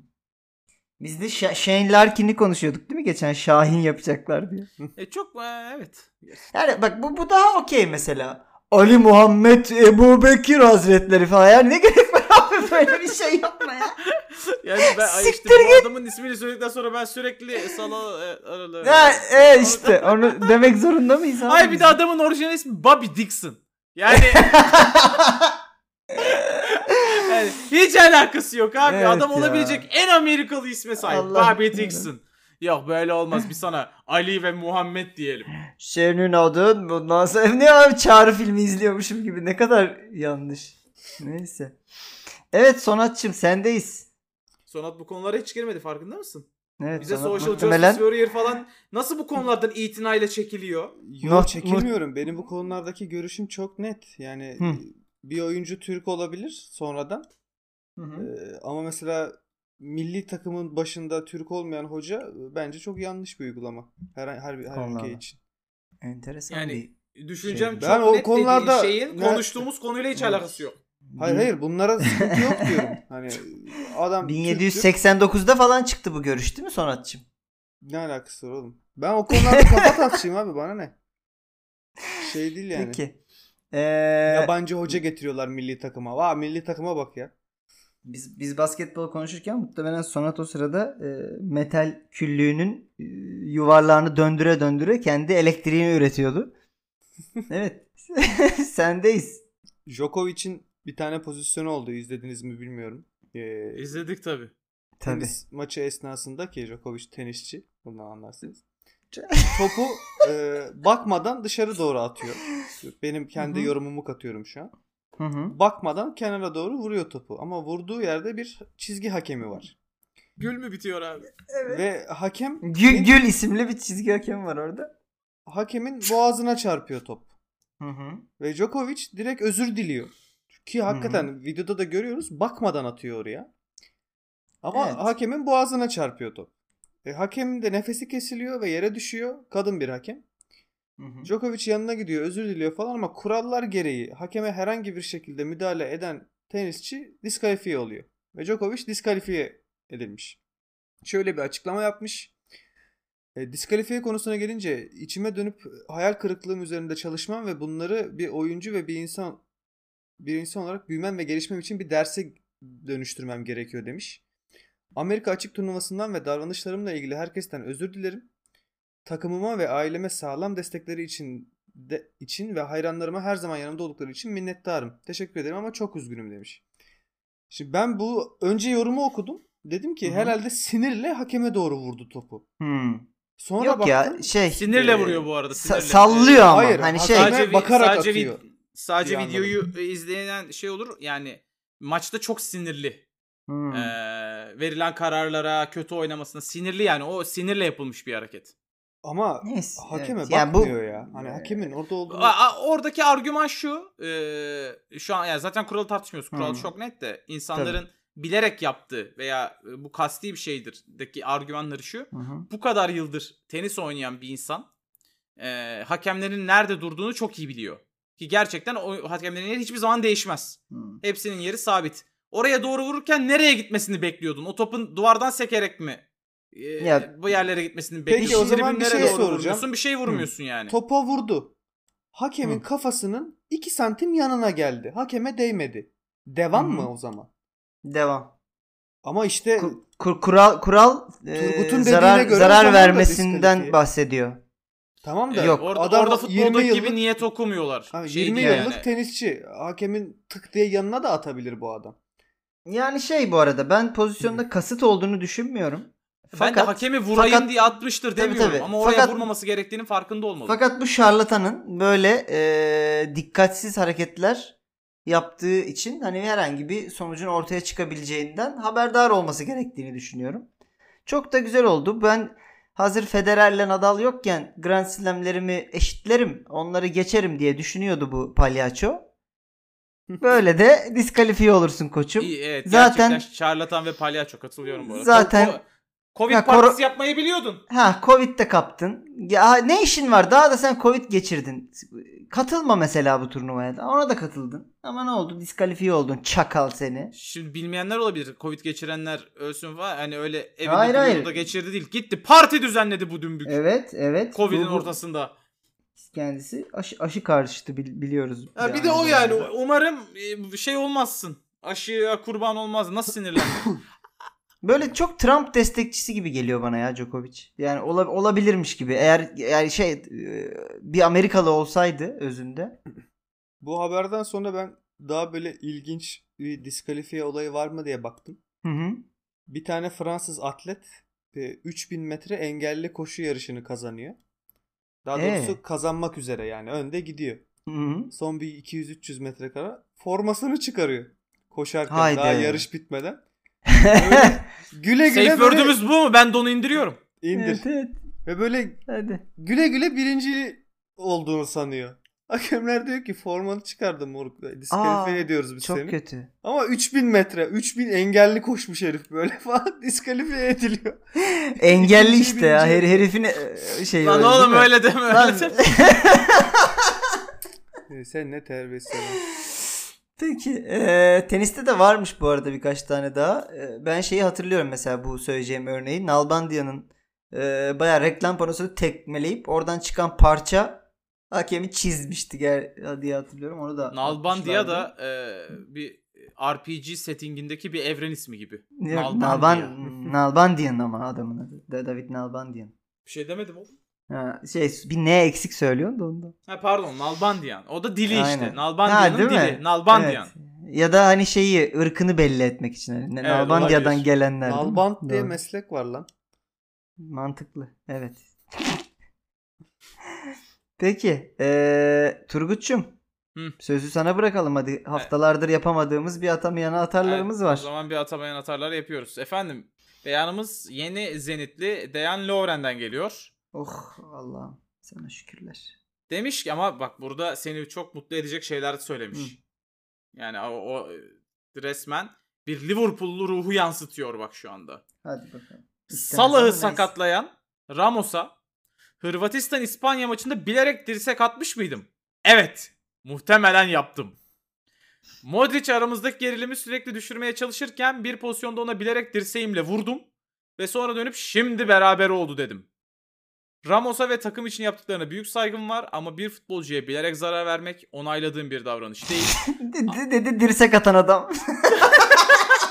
Speaker 2: Biz de Şa- Shane Larkin'i konuşuyorduk değil mi geçen? Şahin yapacaklar diye.
Speaker 1: E çok e, evet.
Speaker 2: Yani bak bu, bu daha okey mesela. Ali Muhammed Ebu Bekir Hazretleri falan. Yani ne gerek var abi böyle bir şey yapma ya.
Speaker 1: Yani ben ay işte
Speaker 2: Siktir
Speaker 1: bu adamın ismini söyledikten sonra ben sürekli sala e, aralı.
Speaker 2: Ha, e işte onu demek zorunda mıyız abi?
Speaker 1: Ay bir de adamın orijinal ismi Bobby Dixon. Yani yani hiç alakası yok abi.
Speaker 2: Evet
Speaker 1: Adam
Speaker 2: ya.
Speaker 1: olabilecek en Amerikalı isme sahip.
Speaker 2: Allah
Speaker 1: Bobby
Speaker 2: bilir.
Speaker 1: Dixon. Yok böyle olmaz. Biz sana Ali ve Muhammed diyelim.
Speaker 2: Senin adın bundan sonra ne abi çağrı filmi izliyormuşum gibi ne kadar yanlış. Neyse. Evet Sonatçım sendeyiz.
Speaker 1: Sonat bu konulara hiç girmedi farkında mısın?
Speaker 2: Evet,
Speaker 1: Bize
Speaker 2: Sonat
Speaker 1: Social
Speaker 2: muhtemelen-
Speaker 1: Justice Warrior falan nasıl bu konulardan itinayla çekiliyor?
Speaker 2: Not-
Speaker 3: Yok çekilmiyorum. Benim bu konulardaki görüşüm çok net. Yani
Speaker 2: Hı.
Speaker 3: bir oyuncu Türk olabilir sonradan.
Speaker 2: Hı hı.
Speaker 3: Ee, ama mesela milli takımın başında Türk olmayan hoca e, bence çok yanlış bir uygulama. Her her, her
Speaker 2: Allah
Speaker 3: ülke
Speaker 2: Allah.
Speaker 3: için.
Speaker 2: Enteresan
Speaker 1: Yani-
Speaker 2: bir...
Speaker 1: Düşüncem
Speaker 2: Şey,
Speaker 1: çok
Speaker 3: ben o
Speaker 1: net
Speaker 3: konularda-
Speaker 1: dediğin şeyin
Speaker 3: Ben-
Speaker 1: konuştuğumuz konuyla hiç alakası yok.
Speaker 3: Hayır
Speaker 2: Bin-
Speaker 3: hayır bunlara sıkıntı yok diyorum. Hani adam Türktür.
Speaker 2: 1789'da falan çıktı bu görüş değil mi Sonatçım?
Speaker 3: Ne alakası var oğlum? Ben o konularda kafa tasçıyım abi bana ne? Şey değil yani.
Speaker 2: Peki. Ee,
Speaker 3: Yabancı hoca getiriyorlar milli takıma. Vah milli takıma bak ya.
Speaker 2: Biz biz basketbol konuşurken muhtemelen Sonat o sırada e, metal küllüğünün e, yuvarlağını döndüre döndüre kendi elektriğini üretiyordu. evet. Sendeyiz.
Speaker 3: Djokovic'in bir tane pozisyonu oldu. İzlediniz mi bilmiyorum. Ee,
Speaker 1: İzledik tabii.
Speaker 2: Tabii.
Speaker 3: tenis maçı esnasında ki Djokovic tenisçi. Bundan anlarsınız. Topu e, bakmadan dışarı doğru atıyor. Benim kendi
Speaker 2: Hı hı.
Speaker 3: yorumumu katıyorum şu an.
Speaker 2: Hı hı.
Speaker 3: Bakmadan kenara doğru vuruyor topu. Ama vurduğu yerde bir çizgi hakemi var.
Speaker 1: Gül mü bitiyor abi?
Speaker 3: Ve hakem
Speaker 2: Gül, Gül isimli bir çizgi hakem var orada.
Speaker 3: hakemin boğazına çarpıyor top.
Speaker 2: Hı hı.
Speaker 3: Ve Djokovic direkt özür diliyor. Ki hakikaten videoda da görüyoruz bakmadan atıyor oraya. Ama
Speaker 2: Evet.
Speaker 3: hakemin boğazına çarpıyor top. E, hakemin de nefesi kesiliyor ve yere düşüyor. Kadın bir hakem.
Speaker 2: Hı hı.
Speaker 3: Djokovic yanına gidiyor özür diliyor falan ama kurallar gereği hakeme herhangi bir şekilde müdahale eden tenisçi diskalifiye oluyor. Ve Djokovic diskalifiye edilmiş. Şöyle bir açıklama yapmış. E, diskalifiye konusuna gelince içime dönüp hayal kırıklığım üzerinde çalışmam ve bunları bir oyuncu ve bir insan bir insan olarak büyümem ve gelişmem için bir derse dönüştürmem gerekiyor demiş. Amerika açık turnuvasından ve davranışlarımla ilgili herkesten özür dilerim. Takımıma ve aileme sağlam destekleri için de, için ve hayranlarıma her zaman yanımda oldukları için minnettarım. Teşekkür ederim ama çok üzgünüm demiş. Şimdi ben bu önce yorumu okudum. Dedim ki
Speaker 2: Hı hı.
Speaker 3: herhalde sinirle hakeme doğru vurdu topu.
Speaker 2: Hı.
Speaker 3: Sonra
Speaker 2: Yok
Speaker 3: baktım.
Speaker 2: ya şey
Speaker 1: E, Sinirle
Speaker 3: Ee,
Speaker 1: vuruyor bu arada.
Speaker 2: sa-
Speaker 1: Sinirle.
Speaker 2: sallıyor ama
Speaker 3: Hayır,
Speaker 2: hani şey.
Speaker 3: hata- Sadece-
Speaker 1: vi-
Speaker 3: bakarak
Speaker 1: vi-
Speaker 3: atıyor
Speaker 1: sadece
Speaker 3: diye
Speaker 1: videoyu izleyen şey olur. Yani maçta çok sinirli.
Speaker 2: Hı.
Speaker 1: Ee, verilen kararlara, kötü oynamasına sinirli yani. O sinirle yapılmış bir hareket.
Speaker 3: Ama
Speaker 2: Neyse.
Speaker 3: hakeme
Speaker 2: evet. Yani bu-
Speaker 3: bakmıyor ya. Hani hakemin orada olduğunu
Speaker 1: A- a- oradaki argüman şu. e, şu an yani zaten kuralı tartışmıyoruz. Kural
Speaker 3: Hmm.
Speaker 2: Hı.
Speaker 1: çok net de insanların bilerek yaptığı veya e, bu kasti bir şeydir deki argümanları şu.
Speaker 2: Hı hı.
Speaker 1: bu kadar yıldır tenis oynayan bir insan e, hakemlerin nerede durduğunu çok iyi biliyor. Ki gerçekten o hakemlerin yeri hiçbir zaman değişmez.
Speaker 2: Hı.
Speaker 1: Hepsinin yeri sabit. Oraya doğru vururken nereye gitmesini bekliyordun? O topun duvardan sekerek mi? e,
Speaker 2: Ya-
Speaker 1: bu yerlere gitmesini bekliyordun.
Speaker 3: Peki o zaman bir
Speaker 1: Tribünlere
Speaker 3: şey
Speaker 1: doğru
Speaker 3: soracağım.
Speaker 1: Vurmuyorsun, bir şey vurmuyorsun yani.
Speaker 3: Topa vurdu. Hakemin
Speaker 2: Hı.
Speaker 3: kafasının 2 santim yanına geldi. Hakeme değmedi. Devam
Speaker 2: Hı hı.
Speaker 3: mı o zaman?
Speaker 2: Devam.
Speaker 3: Ama işte
Speaker 2: Ku- kur- kural kural e,
Speaker 3: Turgut'un dediğine
Speaker 2: zarar
Speaker 3: göre o
Speaker 2: zarar
Speaker 3: zaman da
Speaker 2: vermesinden
Speaker 3: diskalifiye.
Speaker 2: bahsediyor.
Speaker 3: tamam da
Speaker 1: Evet,
Speaker 2: Yok,
Speaker 1: orada,
Speaker 3: adam
Speaker 1: orada
Speaker 3: 20
Speaker 1: futboldaki
Speaker 3: yıllık,
Speaker 1: gibi niyet okumuyorlar.
Speaker 3: Ha,
Speaker 1: Şey
Speaker 3: 20
Speaker 1: değil
Speaker 3: yıllık
Speaker 1: yani.
Speaker 3: tenisçi. Hakemin tık diye yanına da atabilir bu adam.
Speaker 2: Yani şey bu arada ben pozisyonda kasıt olduğunu düşünmüyorum.
Speaker 1: ben de
Speaker 2: Fakat
Speaker 1: hakemi vurayım
Speaker 2: fakat-
Speaker 1: diye atmıştır
Speaker 2: Tabii,
Speaker 1: demiyorum
Speaker 2: tabii.
Speaker 1: ama oraya
Speaker 2: Fakat-
Speaker 1: vurmaması gerektiğinin farkında olmalı.
Speaker 2: fakat bu şarlatanın böyle e, dikkatsiz hareketler yaptığı için hani herhangi bir sonucun ortaya çıkabileceğinden haberdar olması gerektiğini düşünüyorum. Çok da güzel oldu. Ben hazır Federer'le Nadal yokken Grand Slam'lerimi eşitlerim, onları geçerim diye düşünüyordu bu palyaço. Böyle de diskalifiye olursun koçum.
Speaker 1: İyi, evet,
Speaker 2: Zaten-
Speaker 1: gerçekten şarlatan ve palyaço katılıyorum bu arada.
Speaker 2: Zaten-
Speaker 1: Ko- ko- Covid
Speaker 2: Ya,
Speaker 1: partisi
Speaker 2: koro-
Speaker 1: yapmayı biliyordun.
Speaker 2: Ha Covid'de kaptın. Ya ne işin var? Daha da sen Covid geçirdin. Katılma mesela bu turnuvaya da. Ona da katıldın. Ama ne oldu? Diskalifiye oldun. Çakal seni.
Speaker 1: Şimdi bilmeyenler olabilir. Covid geçirenler ölsün falan. Hani öyle evinde
Speaker 2: Hayır,
Speaker 1: hayır,
Speaker 2: hayır.
Speaker 1: geçirdi değil. Gitti parti düzenledi bu dümbük.
Speaker 2: Evet, evet.
Speaker 1: Covid'in
Speaker 2: Bu- bu-
Speaker 1: ortasında.
Speaker 2: Kendisi aşı, aşı karşıtı bil- biliyoruz.
Speaker 1: Ha, bir de o yani. Umarım e, şey olmazsın. Aşıya kurban olmaz. Nasıl sinirlendin?
Speaker 2: Böyle çok Trump destekçisi gibi geliyor bana ya Djokovic. Yani ola- olabilirmiş gibi. Eğer yani şey e, bir Amerikalı olsaydı özünde.
Speaker 3: Bu haberden sonra ben daha böyle ilginç bir diskalifiye olayı var mı diye baktım.
Speaker 2: Hı hı.
Speaker 3: Bir tane Fransız atlet e, 3000 metre engelli koşu yarışını kazanıyor. Daha
Speaker 2: Ee?
Speaker 3: doğrusu kazanmak üzere yani önde gidiyor.
Speaker 2: Hı hı.
Speaker 3: Son bir 200-300 metre kadar formasını çıkarıyor. Koşarken
Speaker 2: Haydi.
Speaker 3: daha yarış bitmeden. Öyle güle güle
Speaker 1: Safe
Speaker 3: böyle
Speaker 1: word'ümüz bu mu? Ben de onu indiriyorum.
Speaker 3: indir.
Speaker 2: Evet, evet.
Speaker 3: Ve böyle
Speaker 2: Hadi.
Speaker 3: güle güle birinci olduğunu sanıyor. Hakemler diyor ki formanı çıkardın moruk. Diskalifiye
Speaker 2: Aa,
Speaker 3: ediyoruz biz
Speaker 2: Çok
Speaker 3: seni.
Speaker 2: kötü.
Speaker 3: Ama 3000 metre, 3000 engelli koşmuş herif böyle falan diskalifiye ediliyor.
Speaker 2: Engelli
Speaker 3: İkinci,
Speaker 2: işte ya. Her,
Speaker 3: birinci.
Speaker 2: herifin e, şey
Speaker 1: şey Lan
Speaker 2: öyle değil
Speaker 1: oğlum
Speaker 2: mi?
Speaker 1: öyle deme öyle
Speaker 2: Lan-
Speaker 1: deme.
Speaker 3: Ee, Sen ne terbiyesiz adam.
Speaker 2: Peki. e, teniste de varmış bu arada birkaç tane daha. E, ben şeyi hatırlıyorum mesela bu söyleyeceğim örneği. Nalbandia'nın e, bayağı reklam panosunu tekmeleyip oradan çıkan parça hakemi çizmişti ger- diye hatırlıyorum. Onu da
Speaker 1: Nalbandia
Speaker 2: atmışlardı.
Speaker 1: e, da e, bir RPG settingindeki bir evren ismi gibi.
Speaker 2: Yok,
Speaker 1: Nalbandia.
Speaker 2: Nalban, Nalbandia'nın ama adamın adı. Da- David Nalbandia'nın.
Speaker 1: Bir şey demedim oğlum.
Speaker 2: Ha, şey bir ne eksik söylüyorsun da ondan.
Speaker 1: Ha pardon Nalbandian. O da dili
Speaker 2: Aynen.
Speaker 1: işte. Nalbandian'ın
Speaker 2: Ha, değil mi?
Speaker 1: dili. Nalbandian.
Speaker 2: Evet. Ya da hani şeyi ırkını belli etmek için. Hani
Speaker 1: Evet,
Speaker 2: Nalbandia'dan
Speaker 1: olabilir.
Speaker 2: gelenler. değil mi?
Speaker 3: Nalbant diye
Speaker 2: Doğru.
Speaker 3: meslek var lan.
Speaker 2: Mantıklı. Evet. Peki. eee Turgut'cum.
Speaker 1: Hı.
Speaker 2: Sözü sana bırakalım hadi. Haftalardır yapamadığımız bir atamayana atarlarımız
Speaker 1: Evet,
Speaker 2: var.
Speaker 1: O zaman bir atamayan atarlar yapıyoruz. Efendim beyanımız yeni Zenitli Dejan Lovren'den geliyor.
Speaker 2: Oh Allah'ım sana şükürler.
Speaker 1: Demiş ki ama bak burada seni çok mutlu edecek şeyler söylemiş.
Speaker 2: Hı.
Speaker 1: Yani o, o e, resmen bir Liverpool'lu ruhu yansıtıyor bak şu anda.
Speaker 2: Hadi bakalım.
Speaker 1: Salah'ı
Speaker 2: Neyse.
Speaker 1: sakatlayan Ramos'a Hırvatistan İspanya maçında bilerek dirsek atmış mıydım? Evet. Muhtemelen yaptım. Modric aramızdaki gerilimi sürekli düşürmeye çalışırken bir pozisyonda ona bilerek dirseğimle vurdum ve sonra dönüp şimdi beraber oldu dedim. Ramos'a ve takım için yaptıklarına büyük saygım var ama bir futbolcuya bilerek zarar vermek onayladığım bir davranış değil.
Speaker 2: D- d- Dedi dirsek atan adam.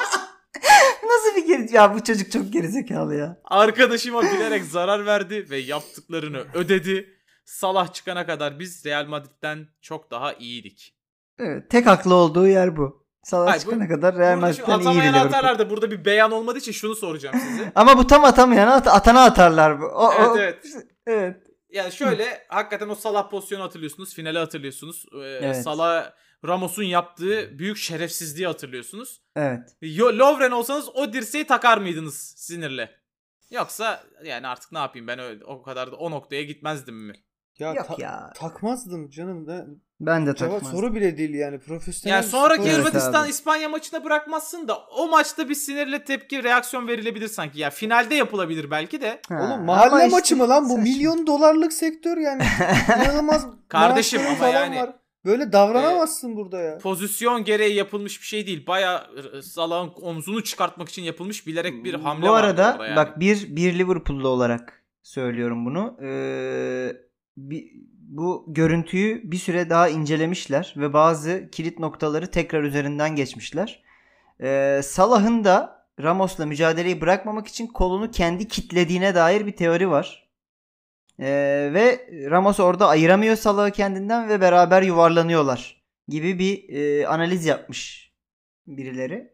Speaker 2: Nasıl bir geri... Ya bu çocuk çok gerizekalı ya.
Speaker 1: Arkadaşıma bilerek zarar verdi ve yaptıklarını ödedi. Salah çıkana kadar biz Real Madrid'den çok daha iyiydik.
Speaker 2: Evet, tek haklı olduğu yer bu. Salah
Speaker 1: Hayır, bu-
Speaker 2: çıkana kadar Real
Speaker 1: Burada şimdi
Speaker 2: Madrid'den iyiydi
Speaker 1: atamayan
Speaker 2: Liverpool.
Speaker 1: atarlar da burada bir beyan olmadığı için şunu soracağım size.
Speaker 2: Ama bu tam atamayana at- atana atarlar bu. O,
Speaker 1: evet
Speaker 2: o-
Speaker 1: evet.
Speaker 2: evet.
Speaker 1: Yani şöyle hakikaten o Salah pozisyonu hatırlıyorsunuz. Finali hatırlıyorsunuz. Ee,
Speaker 2: Evet.
Speaker 1: Salah Ramos'un yaptığı büyük şerefsizliği hatırlıyorsunuz.
Speaker 2: Evet.
Speaker 1: Yo, Lovren olsanız o dirseği takar mıydınız sinirle? Yoksa yani artık ne yapayım ben öyle o kadar da o noktaya gitmezdim mi?
Speaker 3: Ya,
Speaker 2: Yok
Speaker 3: ta-
Speaker 2: ya.
Speaker 3: takmazdım canım. da.
Speaker 2: Ben de
Speaker 3: Cevap
Speaker 2: takmazdım.
Speaker 3: soru bile değil yani. Profesyonel
Speaker 1: Yani
Speaker 3: bir
Speaker 1: sonraki
Speaker 3: spor.
Speaker 2: Evet
Speaker 1: Hırvatistan
Speaker 2: abi.
Speaker 1: İspanya maçına bırakmazsın da o maçta bir sinirle tepki reaksiyon verilebilir sanki. Ya finalde yapılabilir belki de.
Speaker 2: Ha,
Speaker 3: Oğlum mahalle
Speaker 2: ama işte
Speaker 3: maçı mı lan bu?
Speaker 2: saçma.
Speaker 3: Milyon dolarlık sektör yani. İnanılmaz
Speaker 1: Kardeşim
Speaker 3: maaşları
Speaker 1: ama
Speaker 3: falan
Speaker 1: yani- Ee,
Speaker 3: var. Böyle davranamazsın burada ya.
Speaker 1: Pozisyon gereği yapılmış bir şey değil. Baya Salah'ın omzunu çıkartmak için yapılmış bilerek bir hamle
Speaker 2: Hmm, bu
Speaker 1: var
Speaker 2: arada
Speaker 1: orada yani.
Speaker 2: bak bir bir Liverpool'lu olarak söylüyorum bunu. Ee, bi- bu görüntüyü bir süre daha incelemişler ve bazı kilit noktaları tekrar üzerinden geçmişler. Ee, Salah'ın da Ramos'la mücadeleyi bırakmamak için kolunu kendi kitlediğine dair bir teori var. Ee, ve Ramos orada ayıramıyor Salah'ı kendinden ve beraber yuvarlanıyorlar gibi bir e, analiz yapmış birileri.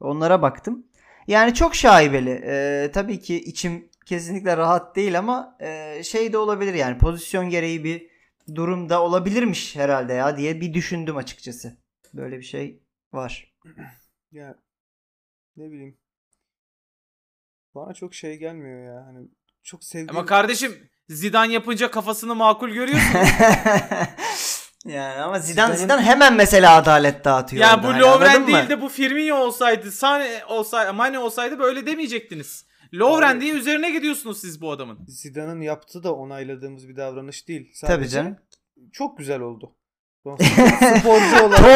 Speaker 2: Onlara baktım. Yani çok şaibeli. Ee, tabii ki içim kesinlikle rahat değil ama e, şey de olabilir yani pozisyon gereği bir durumda olabilirmiş herhalde ya diye bir düşündüm açıkçası. Böyle bir şey var.
Speaker 3: Ya ne bileyim. Bana çok şey gelmiyor ya. Hani çok sevdiğim
Speaker 1: Ama kardeşim Zidane yapınca kafasını makul görüyorsun.
Speaker 2: Yani ama Zidane Zidane hemen mesela adalet dağıtıyor.
Speaker 1: Ya
Speaker 2: orada.
Speaker 1: bu
Speaker 2: Hani
Speaker 1: Lovren
Speaker 2: anladın mı?
Speaker 1: değil de bu Firmino olsaydı, Sane olsaydı, Mane olsaydı böyle demeyecektiniz. Lovren
Speaker 3: Abi-
Speaker 1: diye üzerine gidiyorsunuz siz bu adamın.
Speaker 3: Zidane'ın yaptığı da onayladığımız bir davranış değil. Sadece
Speaker 2: Tabii canım.
Speaker 3: Çok güzel oldu. Sporcu olarak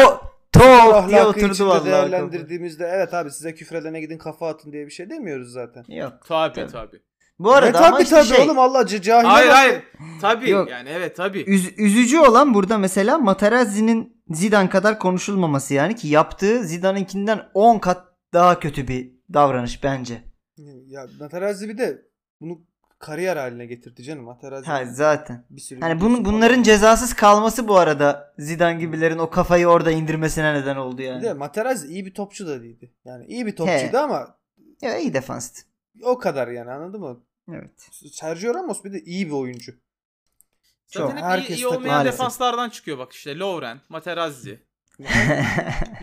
Speaker 2: To to diye
Speaker 3: ahlakı
Speaker 2: oturdu
Speaker 3: içinde
Speaker 2: vallahi.
Speaker 3: değerlendirdiğimizde evet abi size küfredene gidin kafa atın diye bir şey demiyoruz zaten.
Speaker 2: Yok.
Speaker 1: Tabii
Speaker 2: Tabii.
Speaker 1: tabii.
Speaker 2: Bu arada
Speaker 3: e
Speaker 2: ama
Speaker 3: tabii
Speaker 2: işte
Speaker 3: tabii
Speaker 2: şey,
Speaker 3: oğlum Allah c- cahil.
Speaker 1: Hayır hayır. Tabii
Speaker 2: Yok.
Speaker 1: yani evet tabii.
Speaker 2: üz- üzücü olan burada mesela Materazzi'nin Zidane kadar konuşulmaması yani ki yaptığı Zidane'inkinden 10 kat daha kötü bir davranış bence.
Speaker 3: Ya Materazzi bir de bunu kariyer haline getirdi canım. Materazzi
Speaker 2: Ha zaten.
Speaker 3: bir sürü
Speaker 2: Hani
Speaker 3: biliyorsun
Speaker 2: bunun bunların
Speaker 3: falan.
Speaker 2: cezasız kalması bu arada Zidane gibilerin o kafayı orada indirmesine neden oldu
Speaker 3: Bir
Speaker 2: yani.
Speaker 3: de Materazzi iyi bir topçu da değildi. Yani iyi bir
Speaker 2: He.
Speaker 3: topçuydu ama
Speaker 2: Ya iyi defanstı.
Speaker 3: o kadar yani anladın mı?
Speaker 2: Evet.
Speaker 3: Sergio Ramos bir de iyi bir oyuncu.
Speaker 2: çok.
Speaker 1: Zaten hep iyi,
Speaker 3: Herkes
Speaker 1: iyi
Speaker 3: takım-
Speaker 1: olmayan
Speaker 2: Maalesef.
Speaker 1: defanslardan çıkıyor bak işte Lovren, Materazzi.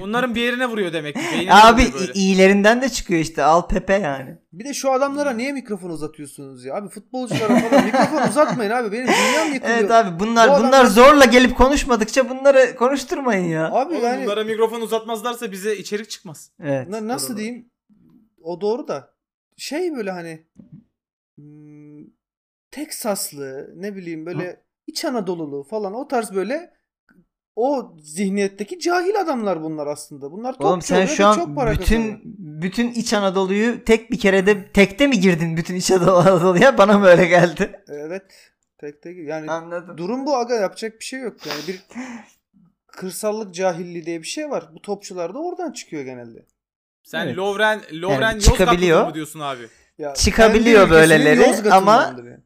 Speaker 1: Bunların bir yerine vuruyor demek ki. beynine
Speaker 2: Abi
Speaker 1: vuruyor böyle.
Speaker 2: i- iyilerinden de çıkıyor işte al Pepe yani.
Speaker 3: Bir de şu adamlara niye mikrofon uzatıyorsunuz ya? Abi futbolculara falan mikrofon uzatmayın abi. Benim dünyam yıkılıyor.
Speaker 2: Evet abi bunlar
Speaker 3: Bu adamlar-
Speaker 2: bunlar zorla gelip konuşmadıkça bunları konuşturmayın ya.
Speaker 3: Abi
Speaker 1: Oğlum
Speaker 3: yani
Speaker 1: bunlara mikrofon uzatmazlarsa bize içerik çıkmaz.
Speaker 2: Evet.
Speaker 3: na- nasıl
Speaker 1: Doğru.
Speaker 3: diyeyim? O doğru da şey böyle hani hmm, Teksaslı ne bileyim böyle İç Anadolulu falan o tarz böyle o zihniyetteki cahil adamlar bunlar aslında. Bunlar topçu
Speaker 2: Oğlum sen
Speaker 3: oluyor
Speaker 2: şu
Speaker 3: ve
Speaker 2: an
Speaker 3: çok para kazanıyor.
Speaker 2: bütün bütün İç Anadolu'yu tek bir kerede tekte mi girdin bütün İç Anadolu'ya? Bana mı öyle geldi?
Speaker 3: Evet. Tek tek yani
Speaker 2: Anladım.
Speaker 3: Durum bu aga yapacak bir şey yok. Yani bir kırsallık cahilliği diye bir şey var. Bu topçular da oradan çıkıyor genelde.
Speaker 1: Sen
Speaker 2: Evet.
Speaker 1: Lovren, Lovren
Speaker 2: Yani çıkabiliyor.
Speaker 1: Yozgatlı mı diyorsun abi?
Speaker 3: Ya
Speaker 2: Çıkabiliyor
Speaker 3: kendi ülkesinin
Speaker 2: böyleleri
Speaker 3: Yozgat'ı
Speaker 2: ama-
Speaker 3: olandır yani.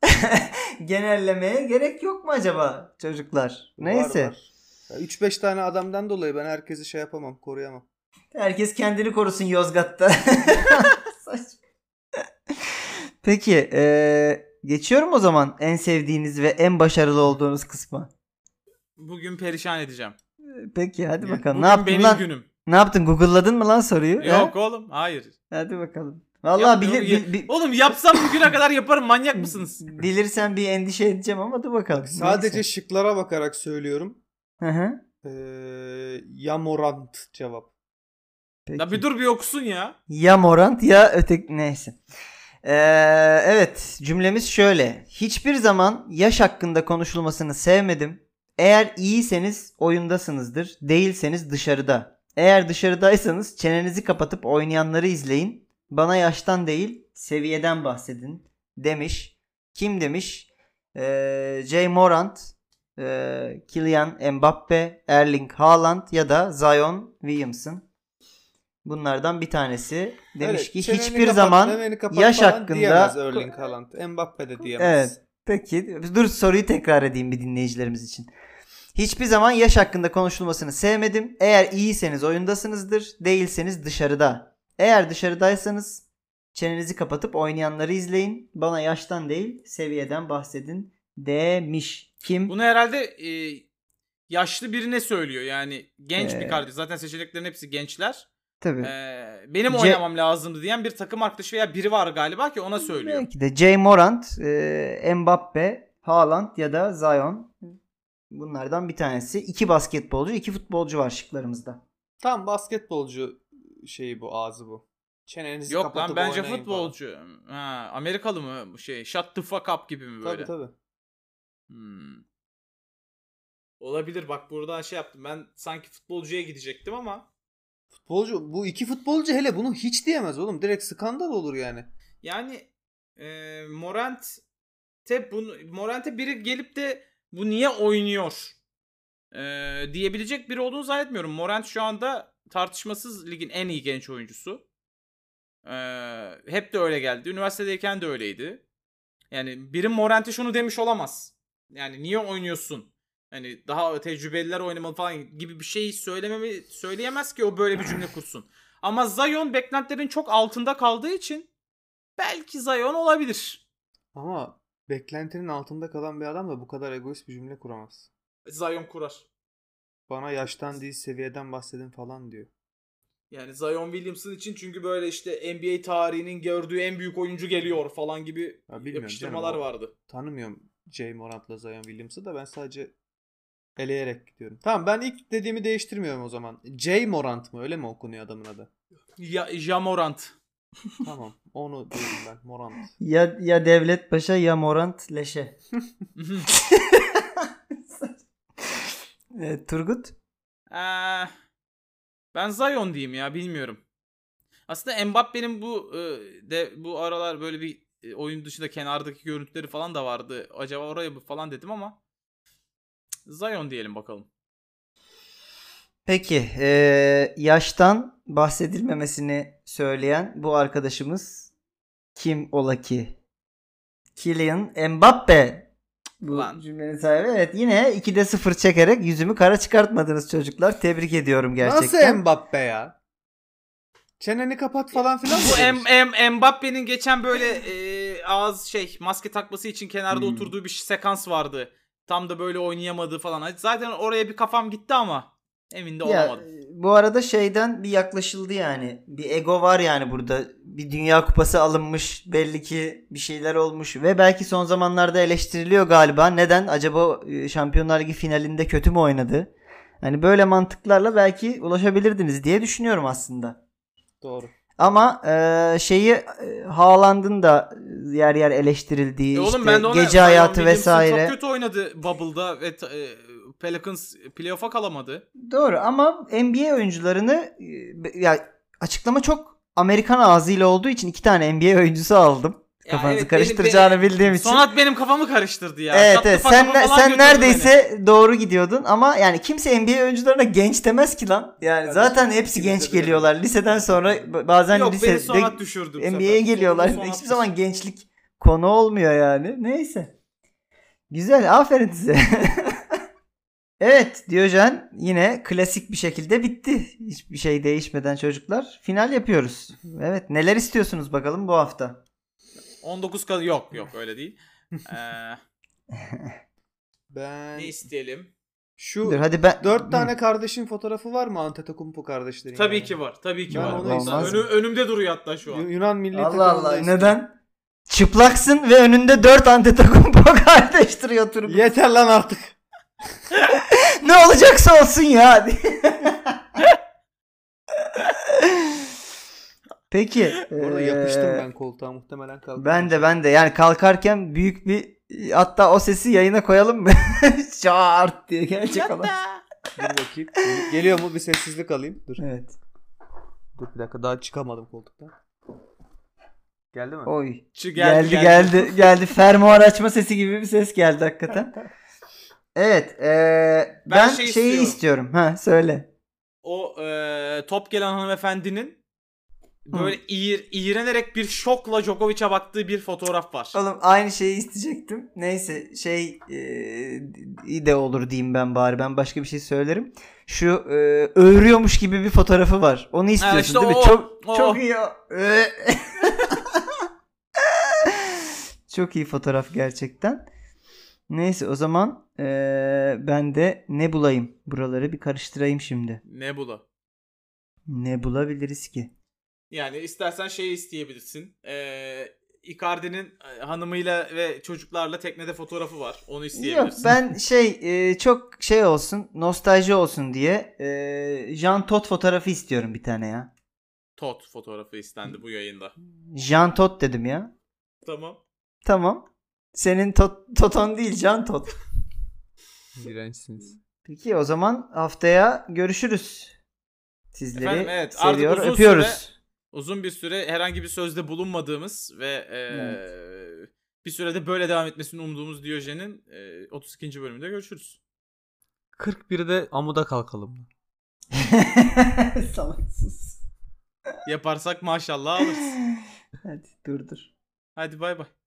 Speaker 2: Genellemeye gerek yok mu acaba çocuklar? Neyse.
Speaker 3: Var, var. Ya 3-5 tane adamdan dolayı ben herkesi şey yapamam, koruyamam.
Speaker 2: Herkes kendini korusun Yozgat'ta. Saçma. Peki eee, geçiyorum o zaman en sevdiğiniz ve en başarılı olduğunuz kısma.
Speaker 1: Bugün perişan edeceğim.
Speaker 2: Peki hadi
Speaker 3: Evet,
Speaker 2: bakalım.
Speaker 1: Bugün
Speaker 2: Ne yaptın
Speaker 1: benim
Speaker 2: lan?
Speaker 1: günüm.
Speaker 2: Ne yaptın? Google'ladın mı lan soruyu? Ha?
Speaker 1: Yok oğlum hayır.
Speaker 2: Hadi bakalım. Vallahi
Speaker 1: Yapmıyorum.
Speaker 2: bilir,
Speaker 1: Ya-
Speaker 2: bil- bil-
Speaker 1: Oğlum yapsam bugüne kadar yaparım manyak mısınız?
Speaker 2: bilirsen bir endişe edeceğim ama dur bakalım.
Speaker 3: Sadece
Speaker 2: Neyse.
Speaker 3: şıklara bakarak söylüyorum.
Speaker 2: Hı hı.
Speaker 3: Ee, Yamorant cevap.
Speaker 2: Peki.
Speaker 1: La bir dur bir okusun ya.
Speaker 2: Ya Morant ya öteki neyse. Ee, evet cümlemiz şöyle. Hiçbir zaman yaş hakkında konuşulmasını sevmedim. Eğer iyiyseniz oyundasınızdır. Değilseniz dışarıda. Eğer dışarıdaysanız çenenizi kapatıp oynayanları izleyin. Bana yaştan değil seviyeden bahsedin demiş. Kim demiş? Ee, Jay Morant, ee, Kylian Mbappe, Erling Haaland ya da Zion Williamson. Bunlardan bir tanesi demiş
Speaker 3: Öyle,
Speaker 2: ki
Speaker 3: çeneni
Speaker 2: hiçbir
Speaker 3: kapat,
Speaker 2: zaman
Speaker 3: memeni kapat
Speaker 2: yaş
Speaker 3: falan
Speaker 2: hakkında-
Speaker 3: diyemez Erling Haaland. Mbappe de diyemez.
Speaker 2: Evet. Peki dur soruyu tekrar edeyim bir dinleyicilerimiz için. Hiçbir zaman yaş hakkında konuşulmasını sevmedim. Eğer iyiyseniz oyundasınızdır, değilseniz dışarıda. Eğer dışarıdaysanız çenenizi kapatıp oynayanları izleyin. Bana yaştan değil, seviyeden bahsedin demiş. Kim?
Speaker 1: Bunu herhalde e, yaşlı birine söylüyor yani genç
Speaker 2: Ee.
Speaker 1: bir kardeş. Zaten seçeneklerin hepsi gençler.
Speaker 2: Tabii.
Speaker 1: Ee, benim
Speaker 2: Ce-
Speaker 1: oynamam lazımdı diyen bir takım arkadaşı veya biri var galiba ki ona söylüyor.
Speaker 2: Belki de Jay Morant, e, Mbappe, Haaland ya da Zion. Bunlardan bir tanesi. İki basketbolcu, iki futbolcu var şıklarımızda.
Speaker 3: Tam basketbolcu şeyi bu ağzı bu. Çenenizi
Speaker 1: Yok lan
Speaker 3: kapatıp
Speaker 1: bence
Speaker 3: oynayın
Speaker 1: futbolcu. Ha, Amerikalı mı bu şey? Shut the fuck up gibi mi
Speaker 3: Falan.
Speaker 1: böyle?
Speaker 3: Tabii tabii.
Speaker 1: Hmm. Olabilir bak buradan şey yaptım. Ben sanki futbolcuya gidecektim ama
Speaker 3: Futbolcu bu iki futbolcu hele bunu hiç diyemez oğlum. Direkt skandal olur yani.
Speaker 1: yani e, Morant bunu Morant'e biri gelip de bu niye oynuyor e, diyebilecek biri olduğunu zannetmiyorum. Morant şu anda tartışmasız ligin en iyi genç oyuncusu. E, hep de öyle geldi. Üniversitedeyken de öyleydi. Yani biri Morant'e şunu demiş olamaz. Yani niye oynuyorsun? Hani daha tecrübeliler oynamalı falan gibi bir şey söylememi söyleyemez ki o böyle bir cümle kursun. Ama Zion beklentilerin çok altında kaldığı için belki Zion olabilir.
Speaker 3: Ama beklentinin altında kalan bir adam da bu kadar egoist bir cümle kuramaz.
Speaker 1: Zion kurar.
Speaker 3: Bana yaştan değil seviyeden bahsedin falan diyor.
Speaker 1: Yani Zion Williamson için çünkü böyle işte NBA tarihinin gördüğü en büyük oyuncu geliyor falan gibi
Speaker 3: Ya bilmiyorum
Speaker 1: yapıştırmalar
Speaker 3: canım o-
Speaker 1: vardı.
Speaker 3: Tanımıyorum Jay Morant'la Zion Williams'ı da ben sadece Eleyerek gidiyorum. Tamam ben ilk dediğimi değiştirmiyorum o zaman. J Morant mı? Öyle mi okunuyor adamın adı?
Speaker 1: Ya, Jamorant.
Speaker 3: tamam. Onu diyorum ben. Morant.
Speaker 2: Ya, ya Devlet Paşa ya Morant Leşe. Evet, E, Turgut.
Speaker 1: Ee, ben Zion diyeyim ya bilmiyorum. Aslında Mbappe'nin bu e, de bu aralar böyle bir e, oyun dışında kenardaki görüntüleri falan da vardı. Acaba oraya mı falan dedim ama cık, Zion diyelim bakalım.
Speaker 2: Peki eee, yaştan bahsedilmemesini söyleyen bu arkadaşımız kim ola ki? Kylian Mbappe. Bu
Speaker 1: Ulan.
Speaker 2: cümlenin sahibi. Evet yine 2'de 0 çekerek yüzümü kara çıkartmadınız çocuklar. Tebrik ediyorum gerçekten.
Speaker 3: Nasıl Mbappe ya? Çeneni kapat falan filan. mı
Speaker 1: Bu
Speaker 2: Şey.
Speaker 3: demiş?
Speaker 1: M- M- Mbappe'nin geçen böyle e, ağız şey maske takması için kenarda
Speaker 3: Hmm.
Speaker 1: oturduğu bir sekans vardı. Tam da böyle oynayamadığı falan. Zaten oraya bir kafam gitti ama emin de
Speaker 2: Ya,
Speaker 1: olamadım.
Speaker 2: e, bu arada şeyden bir yaklaşıldı yani. Bir ego var yani burada. Bir dünya kupası alınmış. Belli ki bir şeyler olmuş. Ve belki son zamanlarda eleştiriliyor galiba. Neden? Acaba e, Şampiyonlar Ligi finalinde kötü mü oynadı? Hani böyle mantıklarla belki ulaşabilirdiniz diye düşünüyorum aslında.
Speaker 3: Doğru.
Speaker 2: Ama e, şeyi e, Haaland'ın da yer yer eleştirildiği
Speaker 1: E
Speaker 2: işte
Speaker 1: oğlum ben de ona
Speaker 2: gece hayatı
Speaker 1: Zion Williamson
Speaker 2: vesaire.
Speaker 1: Çok kötü oynadı Bubble'da ve t- e, Pelicans playoff'a kalamadı.
Speaker 2: Doğru ama NBA oyuncularını e, be- ya açıklama çok Amerikan ağzıyla olduğu için iki tane NBA oyuncusu aldım.
Speaker 1: Ya
Speaker 2: Kafanızı
Speaker 1: evet, benim-
Speaker 2: karıştıracağını
Speaker 1: benim-
Speaker 2: bildiğim için.
Speaker 1: Sonat benim kafamı karıştırdı ya.
Speaker 2: evet
Speaker 1: Çatlı
Speaker 2: evet
Speaker 1: patlama
Speaker 2: sen ne-
Speaker 1: falan
Speaker 2: sen
Speaker 1: götürdü
Speaker 2: neredeyse doğru gidiyordun ama yani kimse NBA oyuncularına genç demez ki lan. Yani
Speaker 3: Kardeşim,
Speaker 2: zaten hepsi
Speaker 3: kimse
Speaker 2: genç
Speaker 3: de
Speaker 2: geliyorlar. Liseden sonra b- bazen
Speaker 1: beni. Yok beni
Speaker 2: lisede
Speaker 1: Sonat düşürdü. bu
Speaker 2: NBA'ye
Speaker 1: sefer.
Speaker 2: geliyorlar.
Speaker 1: Sonat
Speaker 2: Hiçbir
Speaker 1: düşürdü.
Speaker 2: zaman gençlik konu olmuyor yani. Neyse. Güzel. Aferin size. evet Diyojen yine klasik bir şekilde bitti. Hiçbir şey değişmeden çocuklar. Final yapıyoruz. Evet neler istiyorsunuz bakalım bu hafta.
Speaker 1: 19 kadar yok yok öyle değil. Ee,
Speaker 3: Ben
Speaker 1: ne isteyelim?
Speaker 3: şu
Speaker 2: Dur hadi ben.
Speaker 3: dört tane kardeşin fotoğrafı var mı Antetokounmpo kardeşlerin?
Speaker 1: Tabii
Speaker 3: yani?
Speaker 1: ki var. Tabii ki
Speaker 3: Ben
Speaker 1: var.
Speaker 3: onu
Speaker 1: Hatta
Speaker 2: istemem.
Speaker 1: önü- önümde duruyor hatta şu
Speaker 3: Yu-
Speaker 1: an.
Speaker 3: Yunan milli
Speaker 2: Allah
Speaker 3: takımında
Speaker 2: Allah
Speaker 3: istiyor.
Speaker 2: neden? Çıplaksın ve önünde 4 antitakompo kardeş duruyor turbu.
Speaker 3: Yeter lan artık.
Speaker 2: ne olacaksa olsun ya. Peki.
Speaker 3: Orada
Speaker 2: eee,
Speaker 3: yapıştım ben koltuğa muhtemelen kaldım.
Speaker 2: Ben de ben de yani kalkarken büyük bir hatta o sesi yayına koyalım mı? Şart diye gelecek olan.
Speaker 3: Dur bakayım. Geliyor mu bir sessizlik alayım. Dur.
Speaker 2: Evet.
Speaker 3: Dur bir dakika daha çıkamadım koltuktan. Geldi mi?
Speaker 2: Oy.
Speaker 1: Şu
Speaker 2: Geldi geldi geldi. Fermuar açma sesi gibi bir ses geldi hakikaten. Evet. eee,
Speaker 1: Ben
Speaker 2: ben,
Speaker 1: şey
Speaker 2: şeyi
Speaker 1: istiyorum.
Speaker 2: istiyorum. Ha söyle.
Speaker 1: o e, top gelen hanımefendinin böyle iğir, iğrenerek bir şokla Djokovic'e baktığı bir fotoğraf var.
Speaker 2: Oğlum aynı şeyi isteyecektim. Neyse şey e, iyi de olur diyeyim ben bari. Ben başka bir şey söylerim. Şu e, öğürüyormuş gibi bir fotoğrafı var. Onu istiyorsun
Speaker 1: işte
Speaker 2: değil mi?
Speaker 1: o,
Speaker 2: çok
Speaker 1: o.
Speaker 2: çok iyi. o. Ö. çok iyi fotoğraf gerçekten. Neyse o zaman e, ben de ne bulayım? Buraları bir karıştırayım şimdi.
Speaker 1: Ne bu la?
Speaker 2: Ne bulabiliriz ki?
Speaker 1: Yani istersen şey isteyebilirsin. Ee, Icardi'nin e, hanımıyla ve çocuklarla teknede fotoğrafı var. Onu
Speaker 2: Yok
Speaker 1: isteyebilirsin.
Speaker 2: ben şey e, çok şey olsun nostalji olsun diye e, Jean Todt fotoğrafı istiyorum bir tane ya.
Speaker 1: Tot fotoğrafı istendi bu yayında.
Speaker 2: Jean Todt dedim ya.
Speaker 1: Tamam.
Speaker 2: Tamam. Senin tot, Toton değil Jean Todt.
Speaker 3: Dirençsiniz.
Speaker 2: Peki o zaman haftaya görüşürüz. Sizleri
Speaker 1: Efendim, evet, artık
Speaker 2: seviyor
Speaker 1: uzun
Speaker 2: öpüyoruz.
Speaker 1: Uzun bir süre herhangi bir sözde bulunmadığımız ve e,
Speaker 2: Evet.
Speaker 1: bir sürede böyle devam etmesini umduğumuz Diyojen'in e, 32. bölümünde görüşürüz.
Speaker 3: 41'de amuda kalkalım.
Speaker 2: Salaksız.
Speaker 1: Yaparsak maşallah alırız.
Speaker 2: Hadi dur dur.
Speaker 1: Hadi bay bay.